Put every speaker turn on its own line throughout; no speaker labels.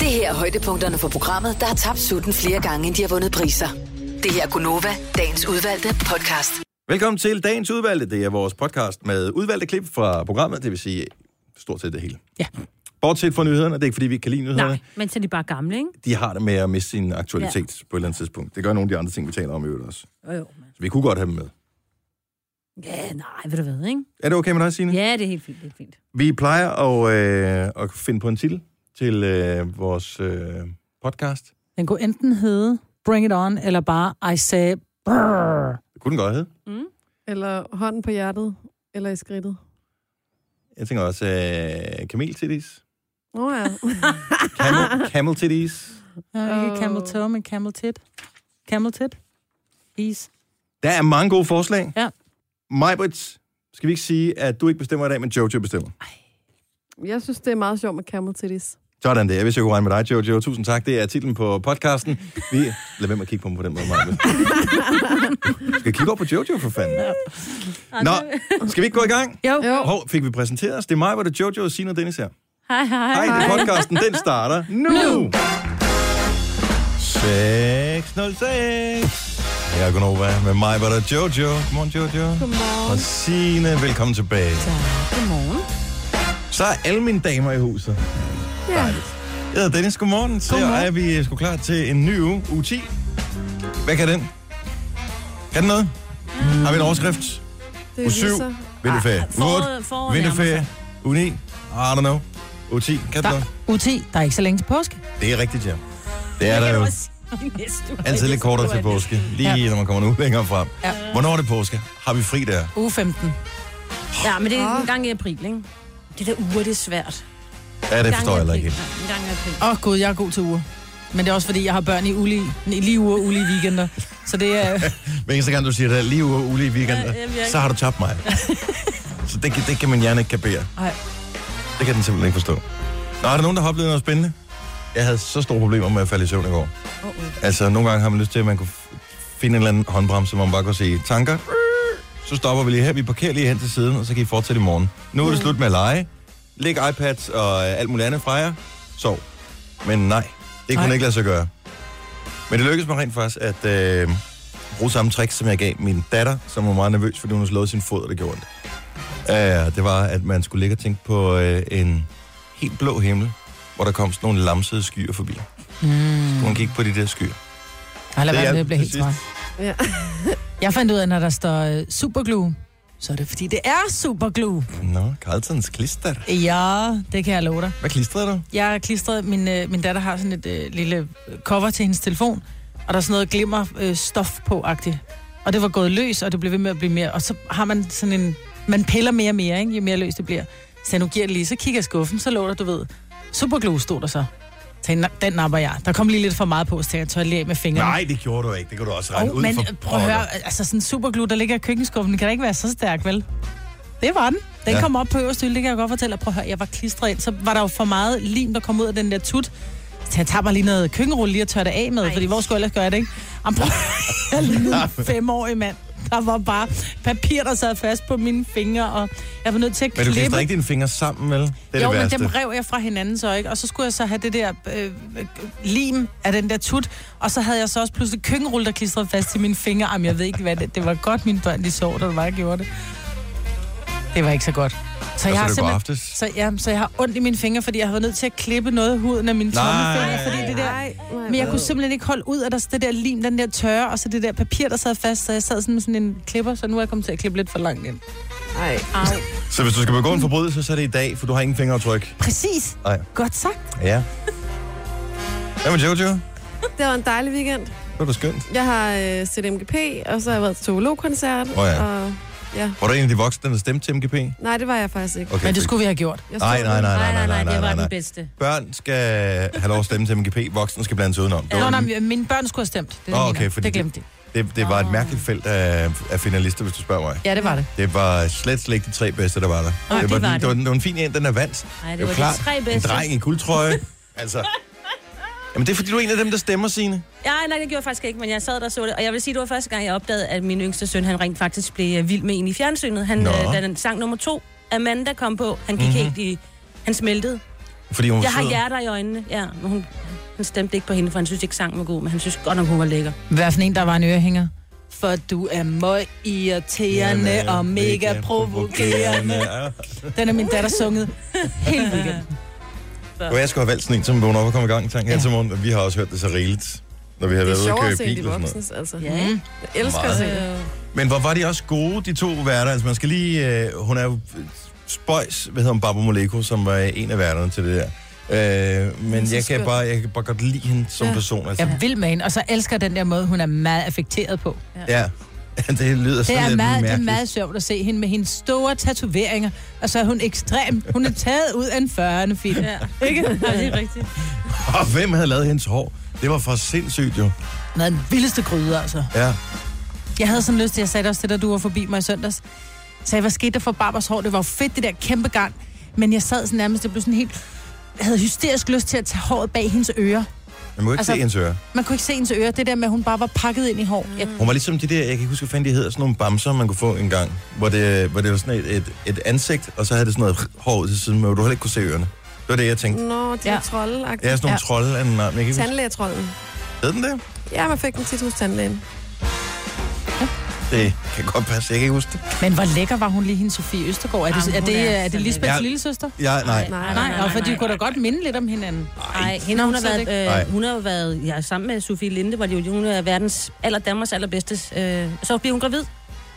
Det her er højdepunkterne for programmet, der har tabt sutten flere gange, end de har vundet priser. Det her er Gunova, dagens udvalgte podcast.
Velkommen til dagens udvalgte. Det er vores podcast med udvalgte klip fra programmet, det vil sige stort set det hele.
Ja.
Bortset fra nyhederne, det er ikke fordi, vi ikke kan lide nyhederne.
Nej, men så er de bare gamle, ikke?
De har det med at miste sin aktualitet ja. på et eller andet tidspunkt. Det gør nogle af de andre ting, vi taler om i øvrigt også.
Jo, jo. men-
Så vi kunne godt have dem med.
Ja, nej, ved du hvad, ikke?
Er det okay med dig, Signe?
Ja, det er helt fint, det er fint.
Vi plejer at, øh, at finde på en titel til øh, vores øh, podcast.
Den kunne enten hedde Bring It On, eller bare I Say Brrr.
Det kunne den godt hedde.
Eller hånden på hjertet, eller i skridtet.
Jeg tænker også øh, Camel Titties.
Nå ja.
Ah.
Camel, camel Titties.
Ja, ikke
Åh.
Camel Toe, men Camel Tit. Camel Tit. Is.
Der er mange gode forslag.
Ja.
Majbrits, skal vi ikke sige, at du ikke bestemmer i dag, men Jojo bestemmer?
Jeg synes, det er meget sjovt med camel titties.
Sådan det. Jeg vidste, jeg kunne regne med dig, Jojo. Tusind tak. Det er titlen på podcasten. Vi... Lad være med at kigge på mig på den måde, Maja. Vi skal kigge over på Jojo, for fanden. Nå, skal vi ikke gå i gang?
Jo.
Jo.
Hov, fik vi præsenteret os? Det er mig, hvor det er Jojo, Signe og Dennis her.
Hej, hej.
Hej, det er podcasten. Den starter nu. 606. Her er Gunova med mig, hvor der er Jojo. Godmorgen, Jojo. Og
Godmorgen.
Signe, velkommen tilbage.
Godmorgen.
Så er alle mine damer i huset.
Ja.
Jeg hedder Dennis, godmorgen. Så er vi øh, sgu klar til en ny uge, uge 10. Hvad kan den? Kan den noget? Har vi en overskrift?
Det
Uge 7,
viser.
vinterferie.
Ah,
Uge
foråret-
8,
foråret nærmer
vinterferie. Uge 9, I don't know. Uge 10, kan den
Der,
noget?
UT, der er ikke så længe til påske.
Det er rigtigt, ja. Det er der jo. Altid lidt kortere til påske, lige når man kommer nu længere frem.
Ja.
Hvornår er det påske? Har vi fri der?
Uge 15.
Ja, men det er en gang i april, ikke? Det der uger, det er svært.
Ja, det
En gang i
forstår jeg heller
april.
ikke helt.
Ja, En gang i april.
Åh oh, gud, jeg er god til uger. Men det er også fordi, jeg har børn i ulige, i lige uger og ulige weekender. Så det er...
Hver eneste gang, du siger det lige uge og ulige weekend,
Ja, ja, virkelig.
så har du tabt mig. Så det, kan- det kan min hjerne ikke kapere.
Ej.
Det kan den simpelthen ikke forstå. Nå, er der nogen, der har oplevet noget spændende? Jeg havde så store problemer med at falde i søvn i går. Altså, nogle gange har man lyst til, at man kunne f- finde en eller anden håndbremse, hvor man bare kunne sige, tanker, så stopper vi lige her, vi parkerer lige hen til siden, og så kan I fortsætte i morgen. Nu er det slut med at lege. Læg iPads og øh, alt muligt andet fra jer. Sov. Men nej, det kunne
Nej.
ikke lade sig gøre. Men det lykkedes mig rent faktisk at øh, bruge samme trick, som jeg gav min datter, som var meget nervøs, fordi hun havde slået sin fod, og det gjorde ondt. Uh, det var, at man skulle ligge og tænke på øh, en helt blå himmel, hvor der kom sådan nogle lamsede skyer forbi. Mm. Hun kigge på de der skyer.
Ej, lad
Det
være,
er
med, det bliver helt
præcis.
smart.
Ja.
Jeg fandt ud af, at når der står øh, superglue, så er det fordi, det er superglue.
Nå, Carlsons klister.
Ja, det kan jeg love dig.
Hvad klistrede du?
Jeg har klistret, min, øh, min datter har sådan et øh, lille cover til hendes telefon, og der er sådan noget glimmer øh, stof på agtigt. Og det var gået løs, og det blev ved med at blive mere. Og så har man sådan en... Man piller mere og mere, ikke? jo mere løs det bliver. Så jeg, nu giver jeg det lige, så kigger jeg i skuffen, så lå der, du ved, superglue stod der så. Så jeg, "Nå, den napper jeg. Der kom lige lidt for meget på, så jeg tør lige af med fingrene.
Nej, det gjorde du ikke. Det kunne du også regne
Oh,
ud
men
for.
prøv at høre, altså sådan en superglue, der ligger i køkkenskuffen, den kan da ikke være så stærk, vel? Det var den. Den
Ja.
ja. kom op på øverste hylde, det kan jeg godt fortælle. Og Prøv at høre, jeg var klistret ind, så var der jo for meget lim, der kom ud af den der tut. Så jeg tager mig lige noget køkkenrulle lige og tørrer det af med, Ej. fordi hvor skulle jeg ellers gøre det, ikke? Jamen, prøv, jeg lignede en femårig mand. Der var bare papir, der sad fast på mine fingre, og jeg var nødt til at
Men du
klippe.
klistrede ikke dine fingre sammen, vel? Det er
jo,
det
men
værste.
dem rev jeg fra hinanden så, ikke? Og så skulle jeg så have det der øh, øh, lim af den der tut, og så havde jeg så også pludselig køkkenrulle, der klistrede fast i mine fingre. Jamen, jeg ved ikke, hvad det... Det var godt, mine børn, de sov, da det var, jeg gjorde det. Det var ikke så godt. Så
det
jeg har
går
simpelthen...
aftes.
Så, ja, så jeg har ondt i mine fingre, fordi jeg har været nødt til at klippe noget af huden af mine
Nej.
tommefingre, fordi det der...
nej,
Men jeg kunne simpelthen ikke holde ud af der, det der lim, den der tørre, og så det der papir, der sad fast, så jeg sad sådan med sådan en klipper, så nu er jeg kommet til at klippe lidt for langt ind.
Ej.
Så hvis du skal begå en forbrydelse, så er det i dag, for du har ingen fingeraftryk.
Præcis.
Nej.
Godt sagt.
Ja. Hvad med Jojo?
Det var en dejlig weekend.
Det var da skønt.
Jeg har øh, set MGP, og så har jeg været til zoologkoncert.
Åh ja.
Og, ja.
Var der en af de voksne, der stemte til MGP? Okay,
Nej, det var jeg faktisk ikke.
Men det
fedt.
skulle vi have gjort.
Jeg
Nej,
stod
nej, nej,
der.
nej, nej,
Nej, nej,
nej,
det var
nej, nej.
den bedste.
Børn skal have lov at stemme til MGP, voksne skal blande sig udenom. Det,
Nå,
var,
nej, men mine børn skulle have stemt. Det, er det,
Åh,
jeg
okay,
mener.
fordi
det glemte de.
det, det var et mærkeligt felt af, af finalister, hvis du spørger mig.
Ja, det var det.
Det var slet, slet ikke de tre bedste, der var der.
Nej,
det,
det
var
var
den,
det.
det. var, den- det var en fin en, den er vandt.
Nej, det
jo
var de
klart,
tre bedste.
En dreng i guldtrøje. altså. Jamen, det er fordi, du er en af dem, der stemmer, sine.
Ja, nej, det gjorde jeg faktisk ikke, men jeg sad der og så det. Og jeg vil sige, det var første gang, jeg opdagede, at min yngste søn, han rent faktisk blev øh, vild med en i fjernsynet. Han,
Nå. Mhm.
øh, da den sang nummer to, Amanda kom på, han gik mm-hmm. helt i... Han smeltede.
Fordi hun var
Jeg har
sød.
hjerter i øjnene, ja. Men hun, han stemte ikke på hende, for han synes ikke, sangen var god, men han synes godt nok, hun var lækker.
Hvad for en, der var en ørehænger? For du er møg irriterende og mega provokerende.
Ja.
Den er min datter sunget hele weekenden.
Og jeg skulle have valgt sådan en, som vågner op og kommer i gang tanken her
Ja.
til morgen. Vi har også hørt det så rigeligt, når vi har
Det
været
er
ude og
sjovt
køre
at
i
se de
bil og sådan noget.
voksne, altså.
Ja, ikke?
Jeg elsker at se det.
Men hvor var de også gode, de to værter. Altså man skal lige... Øh, hun er jo spøjs, hvad hedder hun, Barbara Moleko, som var en af værterne til det der. Øh, men
så
jeg kan,
skøn.
bare, jeg kan bare godt lide hende som
Ja.
person. Altså.
Jeg vil med hende, og så elsker jeg den der måde, hun er meget affekteret på.
Ja. det lyder
Det
sådan
er,
lidt
meget, det er
mærkeligt.
meget sjovt at se hende med hendes store tatoveringer, og så er hun ekstrem. Hun er taget ud af en 40'erne film.
Ja. Ikke? Ja, det er rigtigt.
Og hvem havde lavet hendes hår? Det var for sindssygt jo.
Hun er den vildeste gryde, altså.
Ja.
Jeg havde sådan lyst til, jeg sagde det også til dig, du var forbi mig i søndags. Så sagde, hvad skete der for Barbers hår? Det var jo fedt, det der kæmpe gang. Men jeg sad sådan nærmest, det blev sådan helt... Jeg havde hysterisk lyst til at tage håret bag hendes ører.
Man må ikke altså,
Altså-
se hendes ører.
Man kunne ikke se hendes ører. Det der med, at hun bare var pakket ind i hår. Jeg,
Hun var ligesom de der, jeg kan ikke huske, hvad fanden de hedder, sådan nogle bamser, man kunne få en gang, hvor det, hvor det var sådan et, et, et ansigt, og så havde det sådan noget hår ud til siden, men hvor du heller ikke kunne se ørerne. Det var det, jeg tænkte.
Nå, de
Ja.
er trolde
Jeg er sådan nogle ja.
Mm. Ja.
trolde af en navn, jeg kan ikke huske.
Tandlægetrolden.
Hed den der?
Ja, man fik den tit hos tandlægen.
Det kan godt passe, jeg kan ikke huske det.
Men hvor lækker var hun lige, hende Sofie Østergaard? Er det,
Jamen,
er
hun
det,
er
er
så
det Lisbeths
lækker.
lille søster?
Ja, nej.
Nej,
Nej, nej, nej, for de
nej,
kunne da godt minde lidt om hinanden.
Nej, hende, hun har
Nå, så er det
været,
ikke.
øh, hun har jo været ja, sammen med Sofie Linde, var det jo, hun er verdens, aller Danmarks allerbedste. Øh, så bliver hun gravid.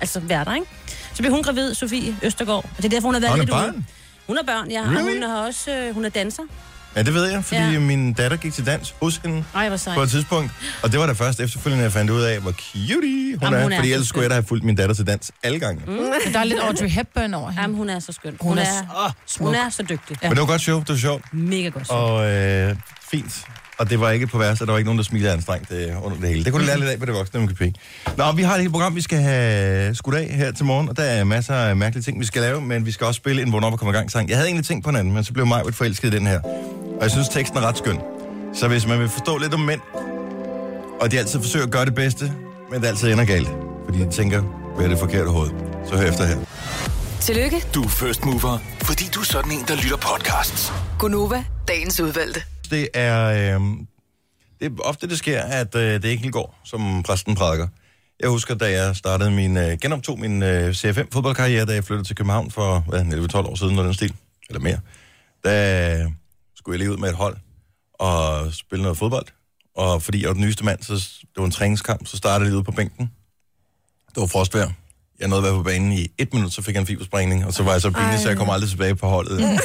Altså værter, ikke? Så bliver hun gravid, Sofie Østergaard. Og det er derfor, hun har været
Har hun
lidt
et
ude.
barn?
Hun er børn, ja.
Really?
Og hun er også øh, hun er danser.
Ja, det ved jeg, fordi ja.
Ja.
min datter gik til dans hos hende
Ej, hvor sej.
på et tidspunkt. Og det var da først efterfølgende, jeg fandt ud af, hvor cutie hun
Jamen,
er.
hun er
fordi
så
ellers skulle
skøn.
jeg da have fulgt min datter til dans alle gange. Mm.
Men der er lidt Audrey Hepburn over hende.
Jamen, hun er så skøn. Hun,
Hun er
er,
så smuk.
hun er så dygtig.
Men det var godt sjovt, det var sjovt.
Mega godt. Og,
og øh, fint. Og det var ikke på værelse, og der var ikke nogen, der smilede anstrengt øh, under det hele. Det kunne du lære lidt af på det voksne MGP. Nå, vi har et helt program, vi skal have skudt af her til morgen, og der er masser af mærkelige ting, vi skal lave, men vi skal også spille en vågn op og komme i gang sang. Jeg havde egentlig tænkt på en anden, men så blev mig forelsket i den her. Og jeg synes, teksten er ret skøn. Så hvis man vil forstå lidt om mænd, og de altid forsøger at gøre det bedste, men det altid ender galt, fordi de tænker, hvad er det forkerte hoved? Så hør efter her.
Tillykke,
Du er first mover, fordi du er sådan en, der lytter podcasts.
Gunova, dagens udvalgte.
det er, øh, det er ofte, det sker, at øh, det ikke helt går, som præsten prædiker. Jeg husker, da jeg startede min, øh, genoptog min øh, CFM-fodboldkarriere, da jeg flyttede til København for hvad, 11-12 år siden, noget i den stil, eller mere. Da skulle jeg lige ud med et hold og spille noget fodbold. Og fordi jeg var den nyeste mand, så s- det var en træningskamp, så startede jeg lige ude på bænken. Det var frostvejr. Jeg nåede at være på banen i et minut, så fik jeg en fibersprængning, og så var jeg så pinlig, så jeg kom aldrig tilbage på holdet.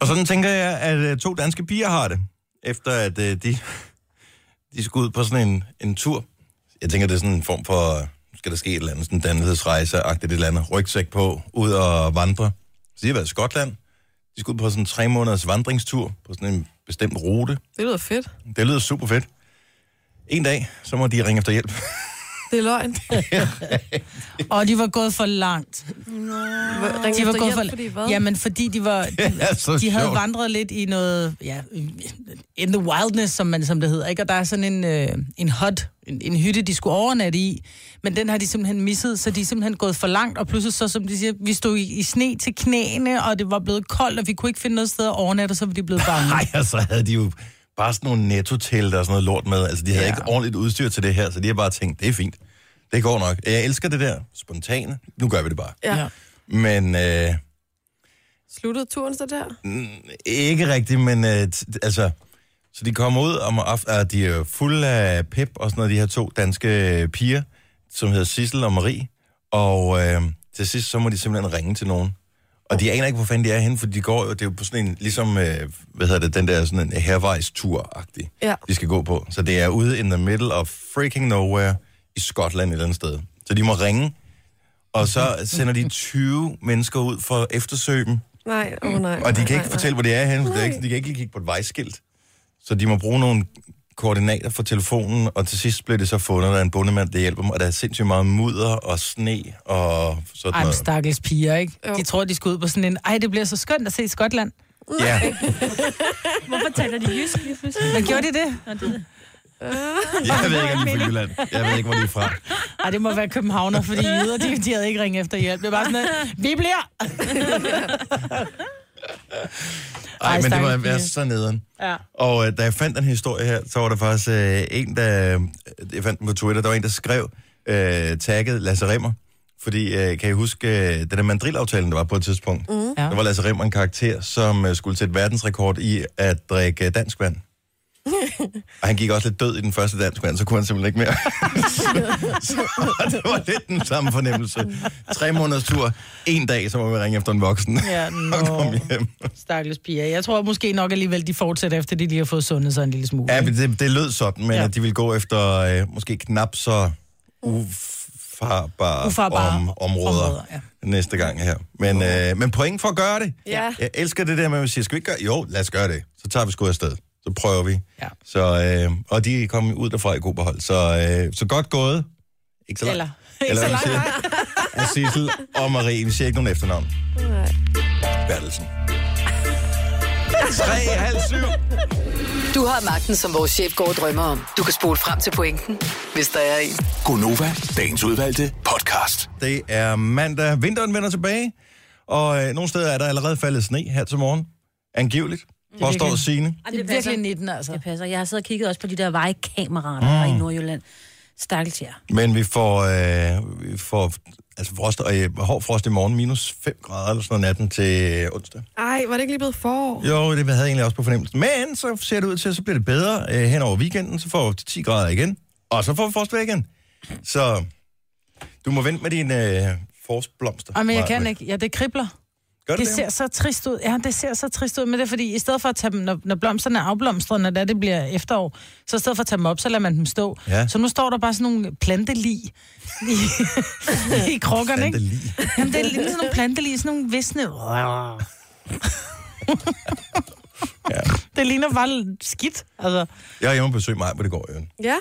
Og sådan tænker jeg, at øh, to danske piger har det, efter at øh, de, de skulle ud på sådan en, en tur. Jeg tænker, det er sådan en form for, øh, nu skal der ske et eller andet, sådan en dannelsesrejse-agtigt et eller andet, rygsæk på, ud og vandre. Så de har været i Skotland, de skulle ud på sådan en tre måneders vandringstur, på sådan en bestemt rute.
Det lyder fedt.
Det lyder super fedt. En dag, så må de ringe efter hjælp.
Det er løgn.
Og de var gået for langt.
Ring
De var
efter
gået
hjælp,
for
fordi hvad?
Jamen, fordi de var... De,
Det er så
de havde
sjovt.
vandret lidt i noget... Ja, in the wildness, som, man, som det hedder, ikke? Og der er sådan en, øh, en hut, en, en hytte, de skulle overnatte i. Men den har de simpelthen misset, så de er simpelthen gået for langt. Og pludselig så, som de siger, vi stod i, i sne til knæene, og det var blevet koldt, og vi kunne ikke finde noget sted at overnatte, og så var de blevet bange.
Nej, og så havde de jo bare sådan nogle netto-telte og sådan noget lort med. Altså, de havde ja.
Ja.
ikke ordentligt udstyr til det her, så de har bare tænkt, det er fint. Det går nok. Jeg elsker det der spontane. Nu gør vi det bare.
Ja.
Men øh,
Sluttede turen så der?
ikke rigtigt, men øh, t- altså... Så de kommer ud om aftenen, og de er fulde af pep og sådan noget, de her to danske øh, piger, som hedder Sissel og Marie. Og øh, til sidst, så må de simpelthen ringe til nogen. Og de aner ikke, hvor fanden de er henne, for de går jo, det er jo på sådan en, ligesom, øh, hvad hedder det, den der sådan en hervejstur-agtig.
Ja.
de skal gå på. Så det er ude in the middle of freaking nowhere i Skotland et eller andet sted. Så de må ringe, og så sender de 20 mennesker ud for eftersøgen,
Nej, åh oh, nej.
og de
nej,
kan ikke
nej,
fortælle, hvor det er henne, for det er ikke, de kan ikke lige kigge på et vejskilt. Så de må bruge nogle koordinater fra telefonen, og til sidst bliver det så fundet, der er en bondemand, der hjælper dem, og der er sindssygt meget mudder og sne og sådan
Ej, men
noget.
stakkels piger, ikke?
Jo.
De tror, de skal ud på sådan en... Ej, det bliver så skønt at se Skotland.
Ja,
Hvorfor taler de jysk lige pludselig?
Men gjorde de det?
Nå, det-
jeg ved ikke, om de er fra Jylland. Jeg ved ikke, hvor de er fra.
Ej, det må være københavner, fordi jyder, de, de havde ikke ringet efter hjælp. Det var sådan, at vi bliver...
Ej,
Ej,
men det var
stakkels
være
pige.
så nederen.
Ja.
Og øh, da jeg fandt den historie her, så var der faktisk øh, en, der... øh, Jeg fandt den på Twitter. Der var en, der skrev øh, tagget Lasse Remmer. Fordi, øh, kan I huske, øh, den der mandrilaftalen, der var på et tidspunkt? Mm.
Ja.
Der var Lasse Remmer en karakter, som øh, skulle sætte verdensrekord i at drikke øh, dansk vand. og han gik også lidt død i den første dansk vand, så kunne han simpelthen ikke mere. så, så det var lidt den samme fornemmelse. Tre måneders tur, en dag, så må vi ringe efter en voksen.
Ja, nå.
og komme hjem.
Stakkels piger. Jeg tror måske nok alligevel, de fortsætter efter det, de har fået sundet sig en lille smule.
Ja,
ikke?
men det, det lød sådan, men ja.
Ja.
at de ville gå efter øh, måske knap så ufarbare,
Ufarbare
om, områder, områder
områder,
ja.
ja.
næste gang her. Men, øh, men point for at gøre det.
Ja.
Jeg elsker det der med, at vi siger, skal vi ikke gøre Jo, lad os gøre det. Så tager vi sgu afsted. Så prøver vi.
Ja.
Så, øh, og de kom ud derfra i god behold. Så, øh, så godt gået. Ikke så langt.
Eller,
Eller hvad man siger. Og Sissel og Marie, vi siger ikke nogen efternavn.
Nej.
Bertelsen. 3, halv syv.
Du har magten, som vores chef går og drømmer om. Du kan spole frem til pointen, hvis der er en.
Gonova, dagens udvalgte podcast.
Det er mandag. Vinteren vender tilbage. Og øh, nogle steder er der allerede faldet sne her til morgen. Angiveligt. Påstår
virkelig-
Signe.
det er virkelig 19, altså.
Det passer. Jeg har siddet og kigget også på de der vejkameraer mm. i Nordjylland. Stakkels jer.
Men vi får, øh, vi får altså frost, og, øh, hård frost i morgen. Minus 5 grader eller sådan noget natten til øh, onsdag.
Ej, var det ikke lige blevet forår?
Jo, det havde jeg egentlig også på fornemmelsen. Men så ser det ud til, at så bliver det bedre øh, hen over weekenden. Så får vi 10 grader igen. Og så får vi frostvæg igen. Så du må vente med dine øh, forårsblomster.
Ej, men jeg kan
Maja.
ikke. Ja, det kribler.
Gør det,
Det ser så trist ud. Ja, det ser så trist ud. Men det er fordi, i stedet for at tage dem, når, når blomsterne er afblomstret, når det, er, det bliver efterår, så i stedet for at tage dem op, så lader man dem stå.
Ja.
Så nu står der bare sådan nogle plantelig i, i krukkerne, ikke?
Fandelig.
Jamen, det er lidt sådan nogle plantelig, sådan nogle visne.
Ja.
Det ligner bare skidt. Altså,
Jeg er hjemme og besøge mig, hvor det går, Jørgen.
Ja.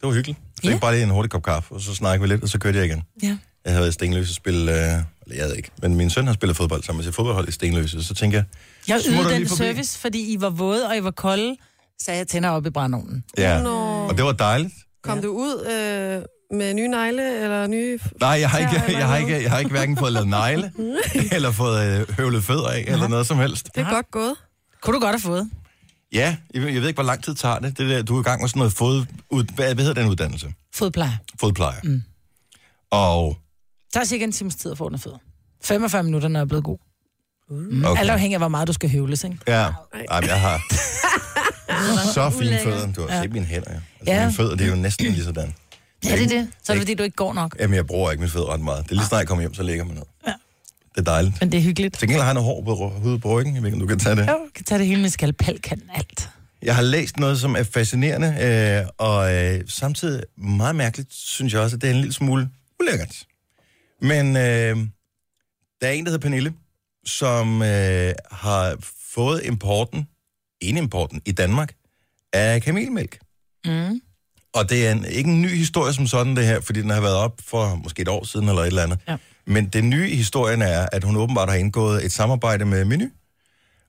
Det var hyggeligt. Så yeah.
Ja.
bare lige en hurtig kop kaffe, og så snakkede vi lidt, og så kørte jeg igen.
ja.
Jeg havde været i Stenløse spil, øh, eller jeg havde ikke, men min søn har spillet fodbold sammen med sit fodboldhold i Stenløse, så tænker jeg,
Jeg
Smutter
ydede
lige
den
forbi.
service, fordi I var våde, og I var kolde, så jeg tænder op i brændoven.
ja,
Nå.
og det var dejligt.
Kom du ud øh, med nye negle eller nye...
Nej, jeg har,
Ja,
ikke,
det var
jeg, har
noget.
ikke, jeg har ikke hverken fået lavet negle, eller fået øh, høvlet fødder af, eller noget som helst.
Det er godt gået.
Kunne du godt have fået?
Ja, jeg ved jeg ved ikke, hvor lang tid tager det. det der, du er i gang med sådan noget fod... Ud, hvad, hvad hedder den uddannelse?
Fodpleje.
Fodplejer. Mm. Og...
Det tager cirka en times tid at få den fed. 45 minutter, når jeg er blevet god. Okay.
Okay.
Alt afhængig af, hvor meget du skal høvles, ikke?
Ja, Ej, men jeg har
Ah,
så fine fødder. Du har set mine hænder, ja. Altså,
Ja.
mine fødder, det er jo næsten lige sådan.
Ja, det er det. Så er det, fordi du ikke går nok.
Jamen, jeg bruger ikke min fødder ret meget. Det er lige snart jeg kommer hjem, så ligger man ned. Ja. Det er dejligt.
Men det er hyggeligt.
Til gengæld har jeg noget hår på ry- hovedet på ryggen. Jeg ved ikke, om du kan tage det.
Jo, jeg kan tage det hele med skalpelkanten, alt.
Jeg har læst noget, som er fascinerende, øh, og øh, samtidig meget mærkeligt, synes jeg også, at det er en lille smule ulækkert. Men øh, der er en, der hedder Pernille, som øh, har fået importen, importen i Danmark, af kamelmælk.
Mm.
Og det er en, ikke en ny historie som sådan, det her, fordi den har været op for måske et år siden eller et eller andet.
Ja.
Men det nye i historien er, at hun åbenbart har indgået et samarbejde med Meny,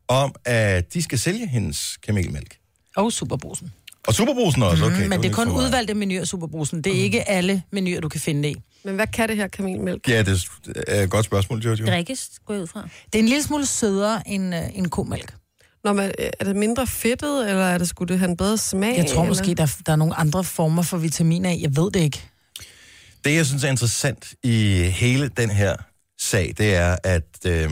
om at de skal sælge hendes kamelmælk.
Og superbrusen.
Og superbrusen også, okay.
Mm, men
var
det er
lidt
kun
for meget.
udvalgte menuer, superbrusen. Det er ikke alle menuer, du kan finde det i.
Men hvad kan det her kamelmælk?
Ja, det er et godt spørgsmål, Jojo.
Drikkes, går jeg ud fra.
Det er en lille smule sødere end, øh, end komælk.
Når man, øh, er det mindre fedtet, eller er det skulle det have en bedre smag?
Jeg tror
eller?
måske, der, der er nogle andre former for vitaminer i. Jeg ved det ikke.
Det, jeg synes er interessant i hele den her sag, det er, at øh,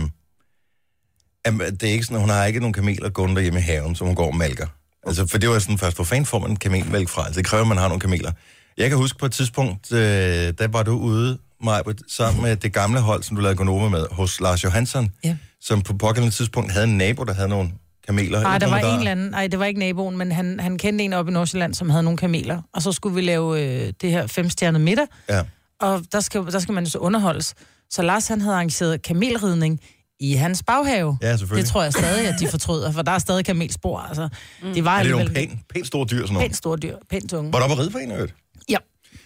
jamen, det er ikke sådan, at hun har ikke nogen kameler gående derhjemme i haven, som hun går og malker. Altså, for det var sådan først, hvor fanden får man en kamelmælk fra? Altså, det kræver, at man har nogle kameler. Jeg kan huske på et tidspunkt, øh, der var du ude, Majbert, sammen med det gamle hold, som du lavede Gonova med, hos Lars Johansson,
Ja.
som på pågældende tidspunkt havde en nabo, der havde nogle kameler.
Nej,
Ikke
Ah, der var
nogen,
en eller anden. Nej, det var ikke naboen, men han, han kendte en oppe i Nordsjælland, som havde nogle kameler. Og så skulle vi lave øh, det her femstjernede middag,
Ja.
og der skal, der skal man jo så underholdes. Så Lars, han havde arrangeret kamelridning i hans baghave.
Ja, selvfølgelig.
Det tror jeg stadig, at de fortryder, for der er stadig kamelspor, altså. Mm. Det var
Er det
alligevel
nogle pænt, pænt store dyr, sådan noget?
pænt store dyr, pænt tunge.
Var du oppe at ride på en af øvrigt?
Ja.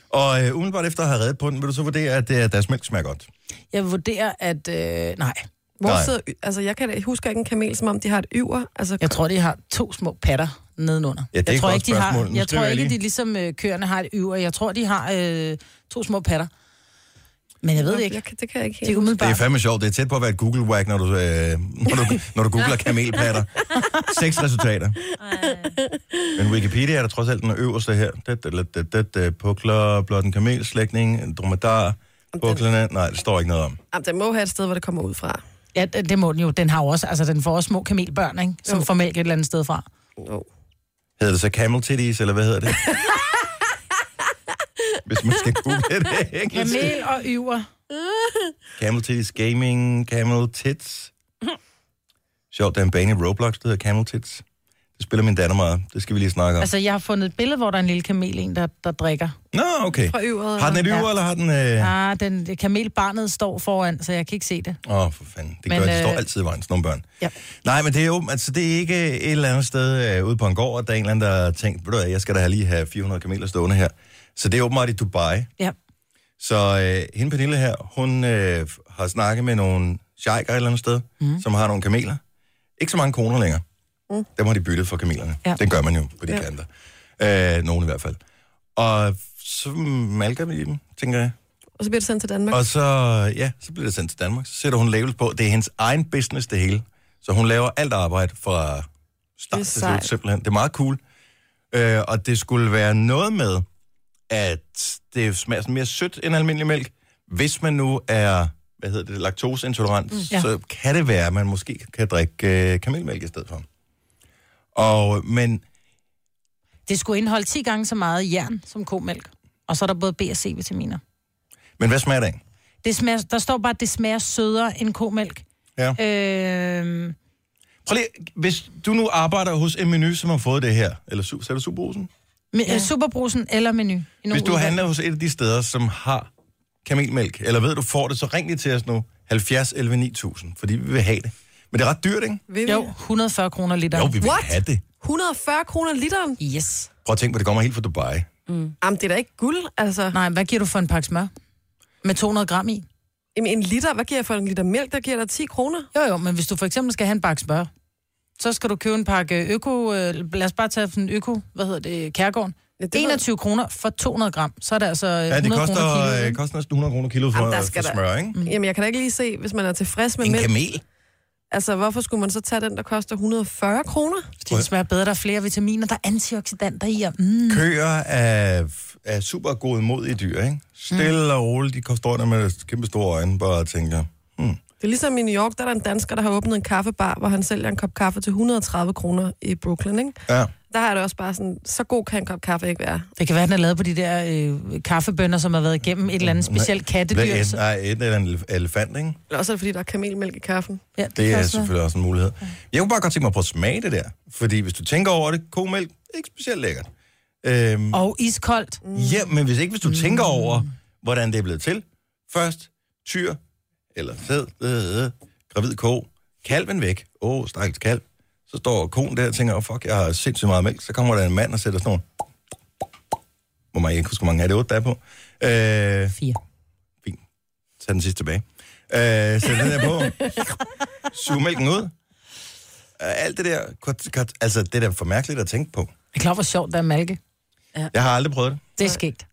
Og øh, umiddelbart efter at have reddet på den, vil du så vurdere, at det er, deres mælk smager godt?
Jeg vurderer, at... Øh, nej,
Hvor
Nej.
sidder, y- altså, jeg kan da- husker ikke en kamel, som om de har et yver. Altså,
jeg tror, de har to små patter nedenunder.
Ja, det er
jeg
et
tror
godt
de
spørgsmål.
har,
Nu
jeg
skriver
tror
jeg
ikke,
lige.
de ligesom øh, køerne har et yver. Jeg tror, de har øh, to små patter. Men jeg ved det
Nå,
ikke.
Jeg, kan- det kan jeg ikke
Det er
helt.
Det er
umiddelbart.
fandme sjovt. Det er tæt på at være et Google-whack, når du, øh, når du, når du googler kamelpatter. Seks resultater. Men Wikipedia er der trods alt den øverste her. Det, det, det, det, det, det, pukler, blot en kamelslægtning, en dromedar, puklerne. Nej, det står ikke noget om.
Jamen, den må have et sted, hvor det kommer ud fra.
Ja, det det må den jo. Den har jo også, altså den får også små kamelbørn, ikke? Som
Jo.
får mælk et eller andet sted fra.
Jo.
Hedder det så camel titties, eller hvad hedder det? Hvis man skal google det engelsk.
Kamel og yver.
Camel titties gaming, camel tits. Sjovt, der er en bane i Roblox, der hedder camel tits. Det spiller min datter meget. Det skal vi lige snakke om.
Altså, jeg har fundet et billede, hvor der er en lille kamel, en, der, der drikker.
Nå, okay.
Fra øvret.
Har den et
Ja.
yver, eller har den... øh,
Ah, den det kamelbarnet står foran, så jeg kan ikke se det.
Åh, oh, for fanden. Det
Men,
gør, de står
øh,
altid i vejen, sådan nogle børn.
Ja.
Nej, men det er jo, altså det er ikke et eller andet sted øh, ude på en gård, at der er en eller anden, der har tænkt, ved du hvad, jeg skal da lige have 400 kameler stående her. Så det er åbenbart i Dubai.
Ja.
Så øh, hende Pernille her, hun øh, har snakket med nogle sheiker et eller andet sted, mm. som har nogle kameler. Ikke så mange kroner længere. Mm. Dem har de byttet for kamelerne. Ja.
Ja.
Det gør man jo på de ja.
Ja.
kanter. Øh, nogen i hvert fald. Og så malker vi dem, tænker jeg.
Og så bliver det sendt til Danmark.
Og så, ja, så bliver det sendt til Danmark. Så sætter hun labels på. Det er hendes egen business, det hele. Så hun laver alt arbejde fra start
Det er
til slut,
sejt.
simpelthen. Det er meget cool. Øh, og det skulle være noget med, at det smager sådan mere sødt end almindelig mælk. Hvis man nu er, hvad hedder det, laktoseintolerant, mm,
ja.
så kan det være, at man måske kan drikke øh, kamelmælk i stedet for. Og, men
Det skulle indeholde 10 gange så meget jern som komælk. Og så er der både B og C-vitaminer.
Men hvad smager det af?
Det smager, der står bare, at det smager sødere end komælk.
Ja.
Øhm.
Øh,
Prøv lige, hvis du nu arbejder hos en menu, som har fået det her, eller su- så er det superbrusen?
ja. øh, Superbrusen eller menu. I nogle
Hvis du
udvalg.
handler hos et af de steder, som har kamelmælk, eller ved, du får det, så ring lige til os nu. 70 11 9000, fordi vi vil have det. Men det er ret dyrt, ikke?
Vil vi?
Jo, 140 kroner liter.
Jo, vi vil
What?
have det.
140 kroner literen?
Yes.
Prøv at tænke på, det kommer helt fra Dubai.
Mm. Jamen, det er da ikke guld, altså.
Nej, hvad giver du for en pakke smør? Med 200 gram i?
Jamen, en liter, hvad giver jeg for en liter mælk? Der giver der 10 kroner.
Jo, jo, men hvis du for eksempel skal have en pakke smør, så skal du købe en pakke øko, øh, lad os bare tage sådan en øko, hvad hedder det, kærgården.
Ja, det ved-
21 kroner for 200 gram, så er det altså
Ja, det
100
koster,
kroner kilo.
øh,
ikke?
koster næsten 100 kroner kilo for,
Jamen, der skal
for
der-
smør, ikke?
Mm. Jamen, jeg kan da ikke lige se, hvis man er tilfreds med
En
mælk.
kamel.
Altså, hvorfor skulle man så tage den, der koster 140 kroner?
Fordi det smager bedre, der er flere vitaminer, der er antioxidanter i, og mm,
Køer er, er super gode mod i dyr, ikke? Stille og roligt, de står der med kæmpe store øjne, bare og tænker,
Det er ligesom i New York, der er der en dansker, der har åbnet en kaffebar, hvor han sælger en kop kaffe til 130 kroner i Brooklyn, ikke?
ja,
Der er det også bare sådan, så god kan en kop kaffe ikke være.
det kan være, den er lavet på de der øh, kaffebønder, som har været igennem et eller andet specielt
Mm, hvad
kattedyr. altså.
end,
så-
nej, et eller andet elefant, ikke?
Eller også er det, fordi der er kamelmælk i kaffen.
Ja, det,
Det
kan
er
også være.
selvfølgelig også en mulighed. Jeg kunne bare godt tænke mig at prøve at smage det der. Fordi hvis du tænker over det, komælk er ikke specielt lækkert. Øhm,
Og iskoldt.
Ja, men hvis ikke hvis du mm. tænker over, hvordan det er blevet til. Først tyr, eller sæd, øh, øh, gravid ko, kalven væk. Åh, oh, stakkels kalv. Så står konen der og tænker, oh, fuck, jeg har sindssygt meget mælk. Så kommer der en mand og sætter sådan nogle... Hvor mange, jeg kan ikke huske, hvor mange er det otte, der er på. Øh,
Fire.
fint. Tag den sidste tilbage. Øh, sæt den der på. Sug mælken ud. Øh, alt det der, kort, kort, altså det der er for mærkeligt at tænke på.
Det er klart, hvor sjovt det er at malke.
Jeg har aldrig prøvet det.
Det er skægt.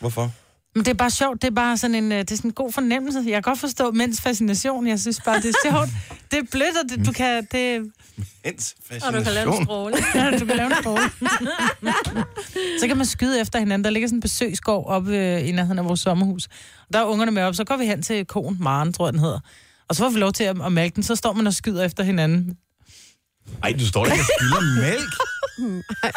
Hvorfor?
Men det er bare sjovt, det er bare sådan en, øh, det er sådan en god fornemmelse. Jeg kan godt forstå mænds fascination, jeg synes bare, det er sjovt. Det er blødt, og det, du kan, det,
Ens fascination.
Og du kan lave en stråle.
ja, du kan lave en bowl. så kan man skyde efter hinanden. Der ligger sådan en besøgsgård oppe øh, i nærheden af vores sommerhus. Og der er ungerne med op, så går vi hen til konen, Maren, tror jeg, den hedder. Og så får vi lov til at, at mælke den, så står man og skyder efter hinanden.
Ej, du står ikke og spilder mælk.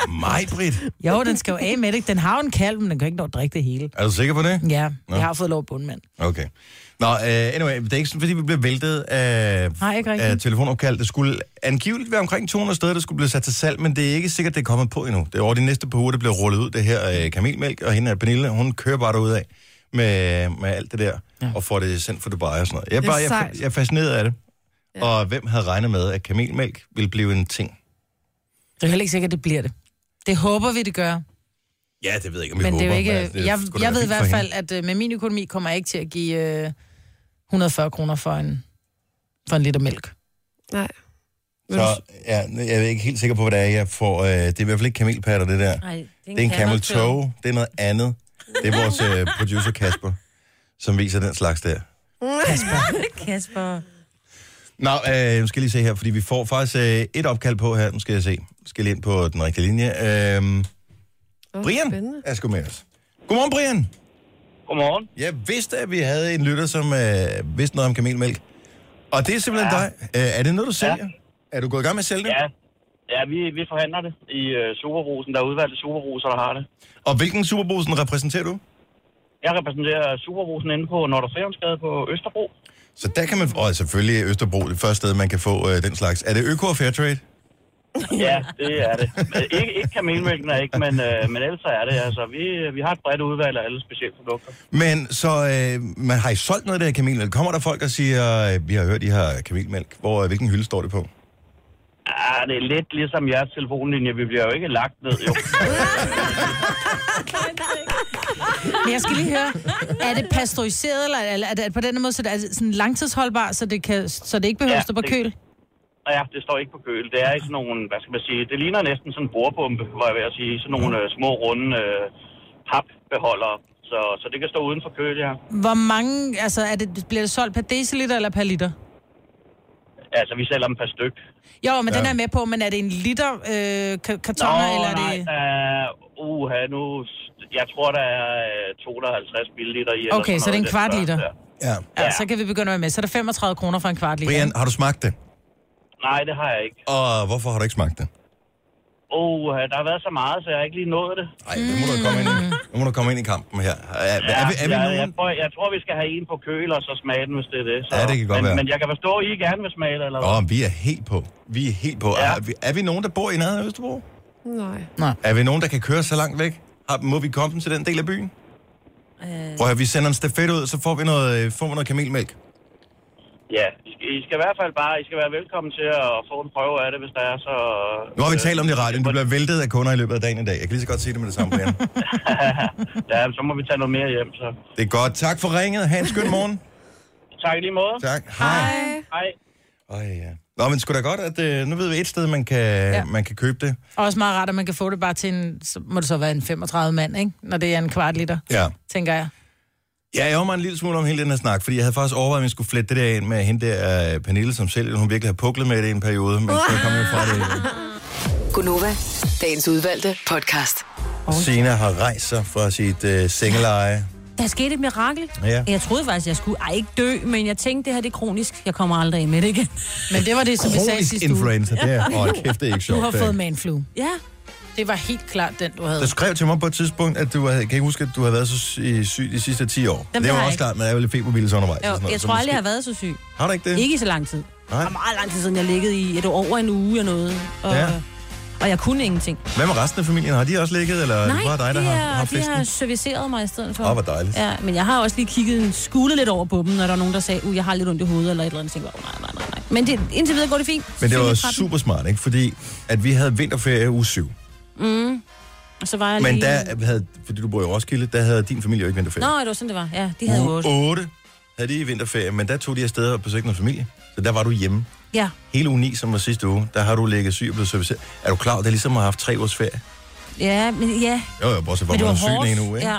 Mig, Britt.
Jo, den skal jo af med det. Den har jo en kalv, men den kan ikke nå at drikke det hele.
Er du sikker på det?
Ja,
Nå.
jeg har fået lov at bundmand.
Okay. Nå, uh, anyway, det er ikke sådan, fordi vi blev væltet af,
Nej, ikke rigtigt.
af telefonopkald. Det skulle angiveligt være omkring 200 steder, der skulle blive sat til salg, men det er ikke sikkert, det er kommet på endnu. Det er over de næste par uger, det bliver rullet ud, det her uh, kamelmælk, og hende er Pernille, hun kører bare derudad med, med alt det der, ja. og får det sendt for Dubai og sådan noget. Jeg, er
Det er
bare, jeg,
sejt.
jeg er fascineret af det. Ja. Og hvem havde regnet med, at kamelmælk ville blive en ting?
Det er heller ikke sikkert, det bliver det. Det håber vi, det gør.
Ja, det ved jeg ikke, om vi
Men det er
håber,
jo ikke...
altså, det
Jeg,
skulle da
jeg
være
ved i
fint
hvert
for
fald, at øh, med min økonomi kommer jeg ikke til at give øh, 140 kroner for en, for en liter mælk.
Nej. Vil du-
Så ja, jeg er ikke helt sikker på, hvad det er, jeg får. Øh, det er i hvert fald ikke kamelpatter, det der.
Nej,
Det er en camel toe, det er noget andet. Det er vores øh, producer Kasper. som viser den slags der.
Kasper.
Nå, øh, nu skal jeg lige se her, fordi vi får faktisk øh, et opkald på her. Nu skal jeg se. Nu skal jeg lige ind på den rigtige linje. Øh,
Oh,
Brian er sgu med os. Godmorgen, Brian.
Godmorgen.
Jeg vidste, at vi havde en lytter, som øh, vidste noget om kamelmælk. Og det er simpelthen ja. dig. Øh, er det noget, du sælger? Ja. Er du gået i gang med at sælge det?
Ja, ja vi, vi forhandler det i øh, Superbrusen. Der er udvalgte Superbruser, der har det.
Og hvilken superbrusen repræsenterer du?
Jeg repræsenterer Superbrusen inde på Norderfærensgade på Østerbro.
Så der kan man... Og selvfølgelig Østerbro, det første sted, man kan få øh, den slags. Er det Øko og Fairtrade?
Ja, det er det. Men Ikke, ikke kamelmælken er ikke, men, øh, men ellers så er det. Altså, vi, vi har et bredt udvalg af alle specielle produkter.
Men så øh, man har I solgt noget af det her kamelmælk? Kommer der folk og siger, øh, vi har hørt, I har kamelmælk. Hvor, øh, hvilken hylde står det på?
Ah, det er lidt ligesom jeres telefonlinje. Vi bliver jo ikke lagt ned, jo.
Men jeg skal lige høre, er det pasteuriseret, eller eller er det på den måde, så det er sådan langtidsholdbar, så det, kan, så det ikke behøver
Ja,
at stå på
det-
køl?
Og ja, det står ikke på køl. Det er i sådan nogle, hvad skal man sige, det ligner næsten sådan en bordpumpe, var jeg ved at sige. Sådan nogle øh, små, runde øh, papbeholdere. Så, så det kan stå uden for køl, ja.
Hvor mange, altså er det, bliver det solgt per deciliter eller per liter?
Altså, vi sælger dem per styk.
Jo, men ja. den
Ja.
er jeg med på, men er det en liter øh, ka- kartoner, eller er
nej,
det...
øh, uha, nu... Jeg tror, der er øh, 250 milliliter i. eller
Okay,
sådan
så det
noget i
er en
den
kvart
størrelse
liter.
der.
Ja.
Ja, så kan vi begynde at være med. Så er det 35 kroner for en kvart liter.
Brian, har du smagt det?
Nej, det har jeg ikke.
Og øh, hvorfor har du ikke smagt det?
Uha, der har været så meget, så jeg har ikke lige nået det.
Nej, nu må du komme ind i, nu må du komme ind i kampen her. Er, er, er, vi, er vi
jeg,
nogen?
jeg, tror, jeg tror, vi skal have en på køl, og så smage den, hvis det er det. Så.
Ja, det kan godt
men,
være.
Men jeg kan forstå, at I gerne vil smage det, eller hvad?
Åh, oh, vi er helt på. Vi er helt på. Ja.
Ja.
Er, vi, er vi nogen, der bor i nærheden af Østerbro?
Nej.
Er vi nogen, der kan køre så langt væk? Har, må vi komme til den del af byen? Øh... Prøv at høre, vi sender en stafet ud, så får vi noget, øh, får vi noget kamelmælk.
Ja, I skal, I skal i hvert fald bare, I skal være velkommen til at få en prøve af det, hvis der er så...
Nu har vi talt om det i radioen. Du bliver væltet af kunder i løbet af dagen i dag. Jeg kan lige så godt sige det med det samme, Brian.
Ja, så må vi tage noget mere hjem, så...
Det er godt. Tak for ringet. Ha' en skøn morgen.
Tak i lige måde.
Tak. Hej.
Hej.
Øj, ja. Nå, men sgu da godt, at øh, nu ved vi et sted, man kan, ja. man kan købe det.
Og også meget rart, at man kan få det bare til en... Så må det så være en 35 mand, ikke? Når det er en kvart liter,
Ja.
tænker jeg.
Ja, jeg ærger mig en lille smule om hele den her snak, fordi jeg havde faktisk overvejet, at vi skulle flette det der ind med hende der, øh, Pernille, som selv, hun virkelig har puklet med det i en periode, men så kom jeg fra det.
Gunova, dagens udvalgte podcast.
Sina har rejst sig fra sit øh, sengeleje.
Der skete et mirakel.
Ja.
Jeg troede faktisk, jeg skulle... Ej, ikke dø, men jeg tænkte, det her det er kronisk. Jeg kommer aldrig af med det igen.
Men det var det, som vi sagde
Kronisk
sidste uge.
influenza, det er, åh, kæft, det er ikke
Du
sjovt.
har
det er.
fået manflu.
Ja.
Det var helt klart den, du havde.
Der skrev til mig på et tidspunkt, at du havde, kan ikke huske, at du havde været så sy- syg de sidste 10 år.
Dem
det
har
var
jeg
også
ikke.
klart, men jeg var lidt feberbildes undervejs. og
Jo,
sådan noget,
jeg
så
tror
måske-
aldrig, jeg har været så syg.
Har du ikke det?
Ikke i så lang tid.
Nej.
Det var meget lang tid siden, jeg liggede i et over en uge eller noget. Og,
Ja.
og jeg kunne ingenting.
Hvad med resten af familien? Har de også ligget, eller er det bare dig, der
de,
har,
har,
har
de
festen?
har serviceret mig i stedet for.
Åh, hvor dejligt.
Ja, men jeg har også lige kigget en skule lidt over på dem, når der er nogen, der sagde, at jeg har lidt ondt i hovedet eller et eller andet. Jeg tænkte, "Åh, nej, nej, nej, nej. Men det, indtil videre går det fint.
Men det
Syg
var
i tretten.
super smart, ikke? Fordi at vi havde vinterferie i uge 7.
Mm. Og så var jeg
Men
lige...
der havde, fordi du bor i Roskilde, der havde din familie jo ikke vinterferie.
Nå, det var sådan, det var. Ja, de havde jo
Uge 8 havde de vinterferie, men der tog de afsted og besøgte noget familie. Så der var du hjemme.
Ja,
Hele uge 9, som var sidste uge, der har du ligget syg og blevet serviceret. Er du klar? over, Det er ligesom at have haft tre års ferie.
ja, men ja.
Jo, jo, bortset fra,
Men
at
det var
man var
hårdt.
syg den ene uge, ikke?
Ja.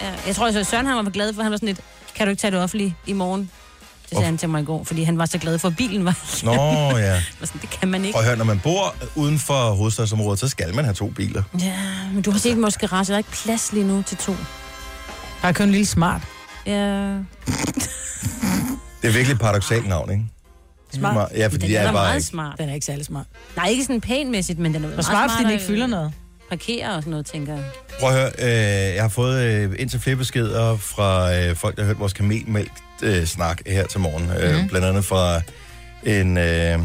ja. Jeg tror, at Søren han var glad for, han var sådan lidt, kan du ikke tage det offentlige i morgen? Det sagde
Hvorfor?
han til mig i går, fordi han var så glad for, at bilen var.
Nå, ja.
Jeg var sådan, det kan man ikke.
Og hør, når man bor uden for hovedstadsområdet, så skal man have to biler.
Ja, men du har set måske ret, der er ikke plads lige nu til to.
Der er kun en lille smart.
Ja.
Det er virkelig et paradoxalt navn, ikke?
Smart.
Ja, fordi
den
jeg
er
er
da
bare
meget
ikke...
smart.
Den er ikke særlig smart.
Nej, ikke sådan pænmæssigt, men den er
Og
meget
smart, fordi den
smartere
ikke fylder
i-
noget.
Parkere og sådan noget, tænker jeg.
Prøv at høre, øh, jeg har fået øh, indtil flere beskeder fra øh, folk, der har hørt vores kamelmælk-snak her til morgen. Øh,
Mhm.
Blandt andet fra en... Øh,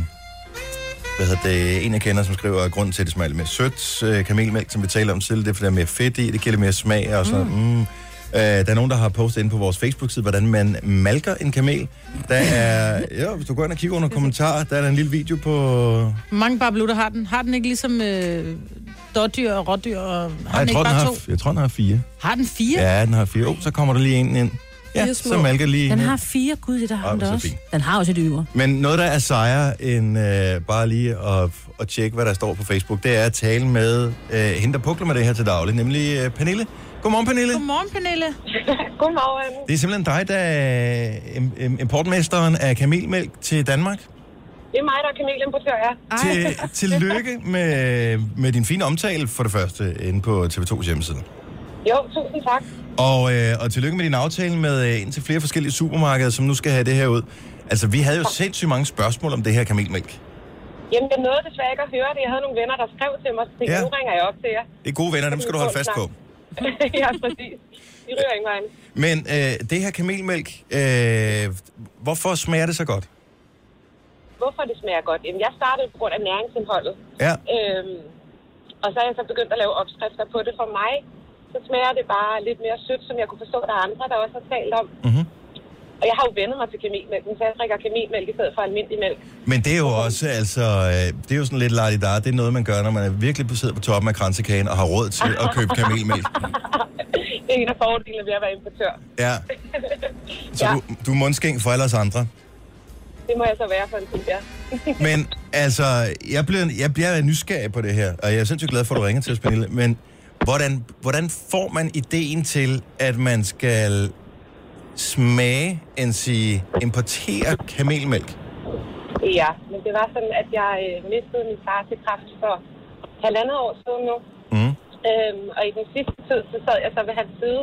hvad hedder det, en jeg kender, som skriver, at grunden til, at det smager lidt mere sødt øh, kamelmælk, som vi taler om tidligere, det er, fordi der er mere fedt i, det giver lidt mere smag og sådan mm. Mm. Øh, der er nogen, der har postet inde på vores Facebook-side, hvordan man malker en kamel. Der er, ja, hvis du går ind og kigger under kommentarer, der er der en lille video på...
Mange bablutter har den. Har den ikke ligesom øh, dårdyr og rådyr? Og, har
Ej, jeg,
den
tror,
ikke
den
bare
har,
to?
jeg tror, den har fire.
Har den fire?
Ja, den har fire. Oh, så kommer der lige en ind. Ja,
Fire
så
små.
malker lige
Den
en
har
ind.
fire, gud, det der har
Ej,
den
hvor
da
så
også.
fint.
Den har også et yver.
Men noget, der er sejere end øh, bare lige at, at tjekke, hvad der står på Facebook, det er at tale med øh, hende, der pukler med det her til daglig, nemlig øh, Pernille, Godmorgen, Pernille.
Godmorgen, Pernille.
Godmorgen.
Det er simpelthen dig, der er im- im- importmesteren af kamelmælk til Danmark.
Det er mig, der er kamelimportør, ja.
Til, tillykke med, med din fine omtale for det første inde på TV2's hjemmeside.
Jo, tusind tak.
Og, øh, og tillykke med din aftale med øh, indtil flere forskellige supermarkeder, som nu skal have det her ud. Altså, vi havde jo sindssygt mange spørgsmål om det her kamelmælk.
Jamen, jeg nåede desværre ikke at høre det. Jeg havde nogle venner, der skrev til mig, så tænkte,
Ja.
ja. nu ringer jeg op til jer.
Det er gode venner, dem skal du holde fast på.
ja, præcis. De ryger ingen vejen.
Men øh, det her kamelmælk, øh, hvorfor smager det så godt?
Hvorfor det smager godt? Jamen, jeg startede på grund af næringsindholdet.
Ja,
Øhm, og så er jeg så begyndt at lave opskrifter på det for mig. Så smager det bare lidt mere sødt, som jeg kunne forstå, der er andre, der også har talt om.
Mhm.
Og jeg har jo vendet mig til kamelmælken, så jeg drikker kamelmælk i stedet for almindelig mælk.
men det er jo også, altså, øh, det er jo sådan lidt lart der. Det er noget, man gør, når man er virkelig sidder på toppen af kransekagen og har råd til at købe kamelmælk.
det er en af fordelene ved at være importør.
Ja. Så
Ja.
du, du er mundskæng for alle os andre.
Det må jeg så være for en tid, ja.
Men altså, jeg bliver, jeg bliver nysgerrig på det her, og jeg er sindssygt glad for, at du ringer til os, Pernille. Men hvordan, hvordan får man ideen til, at man skal smage, end sige, importere kamelmælk?
Ja, men det var sådan, at jeg øh, mistede min far til kræft for halvandet år siden nu.
Mm.
Øhm, og i den sidste tid, så sad jeg så ved hans side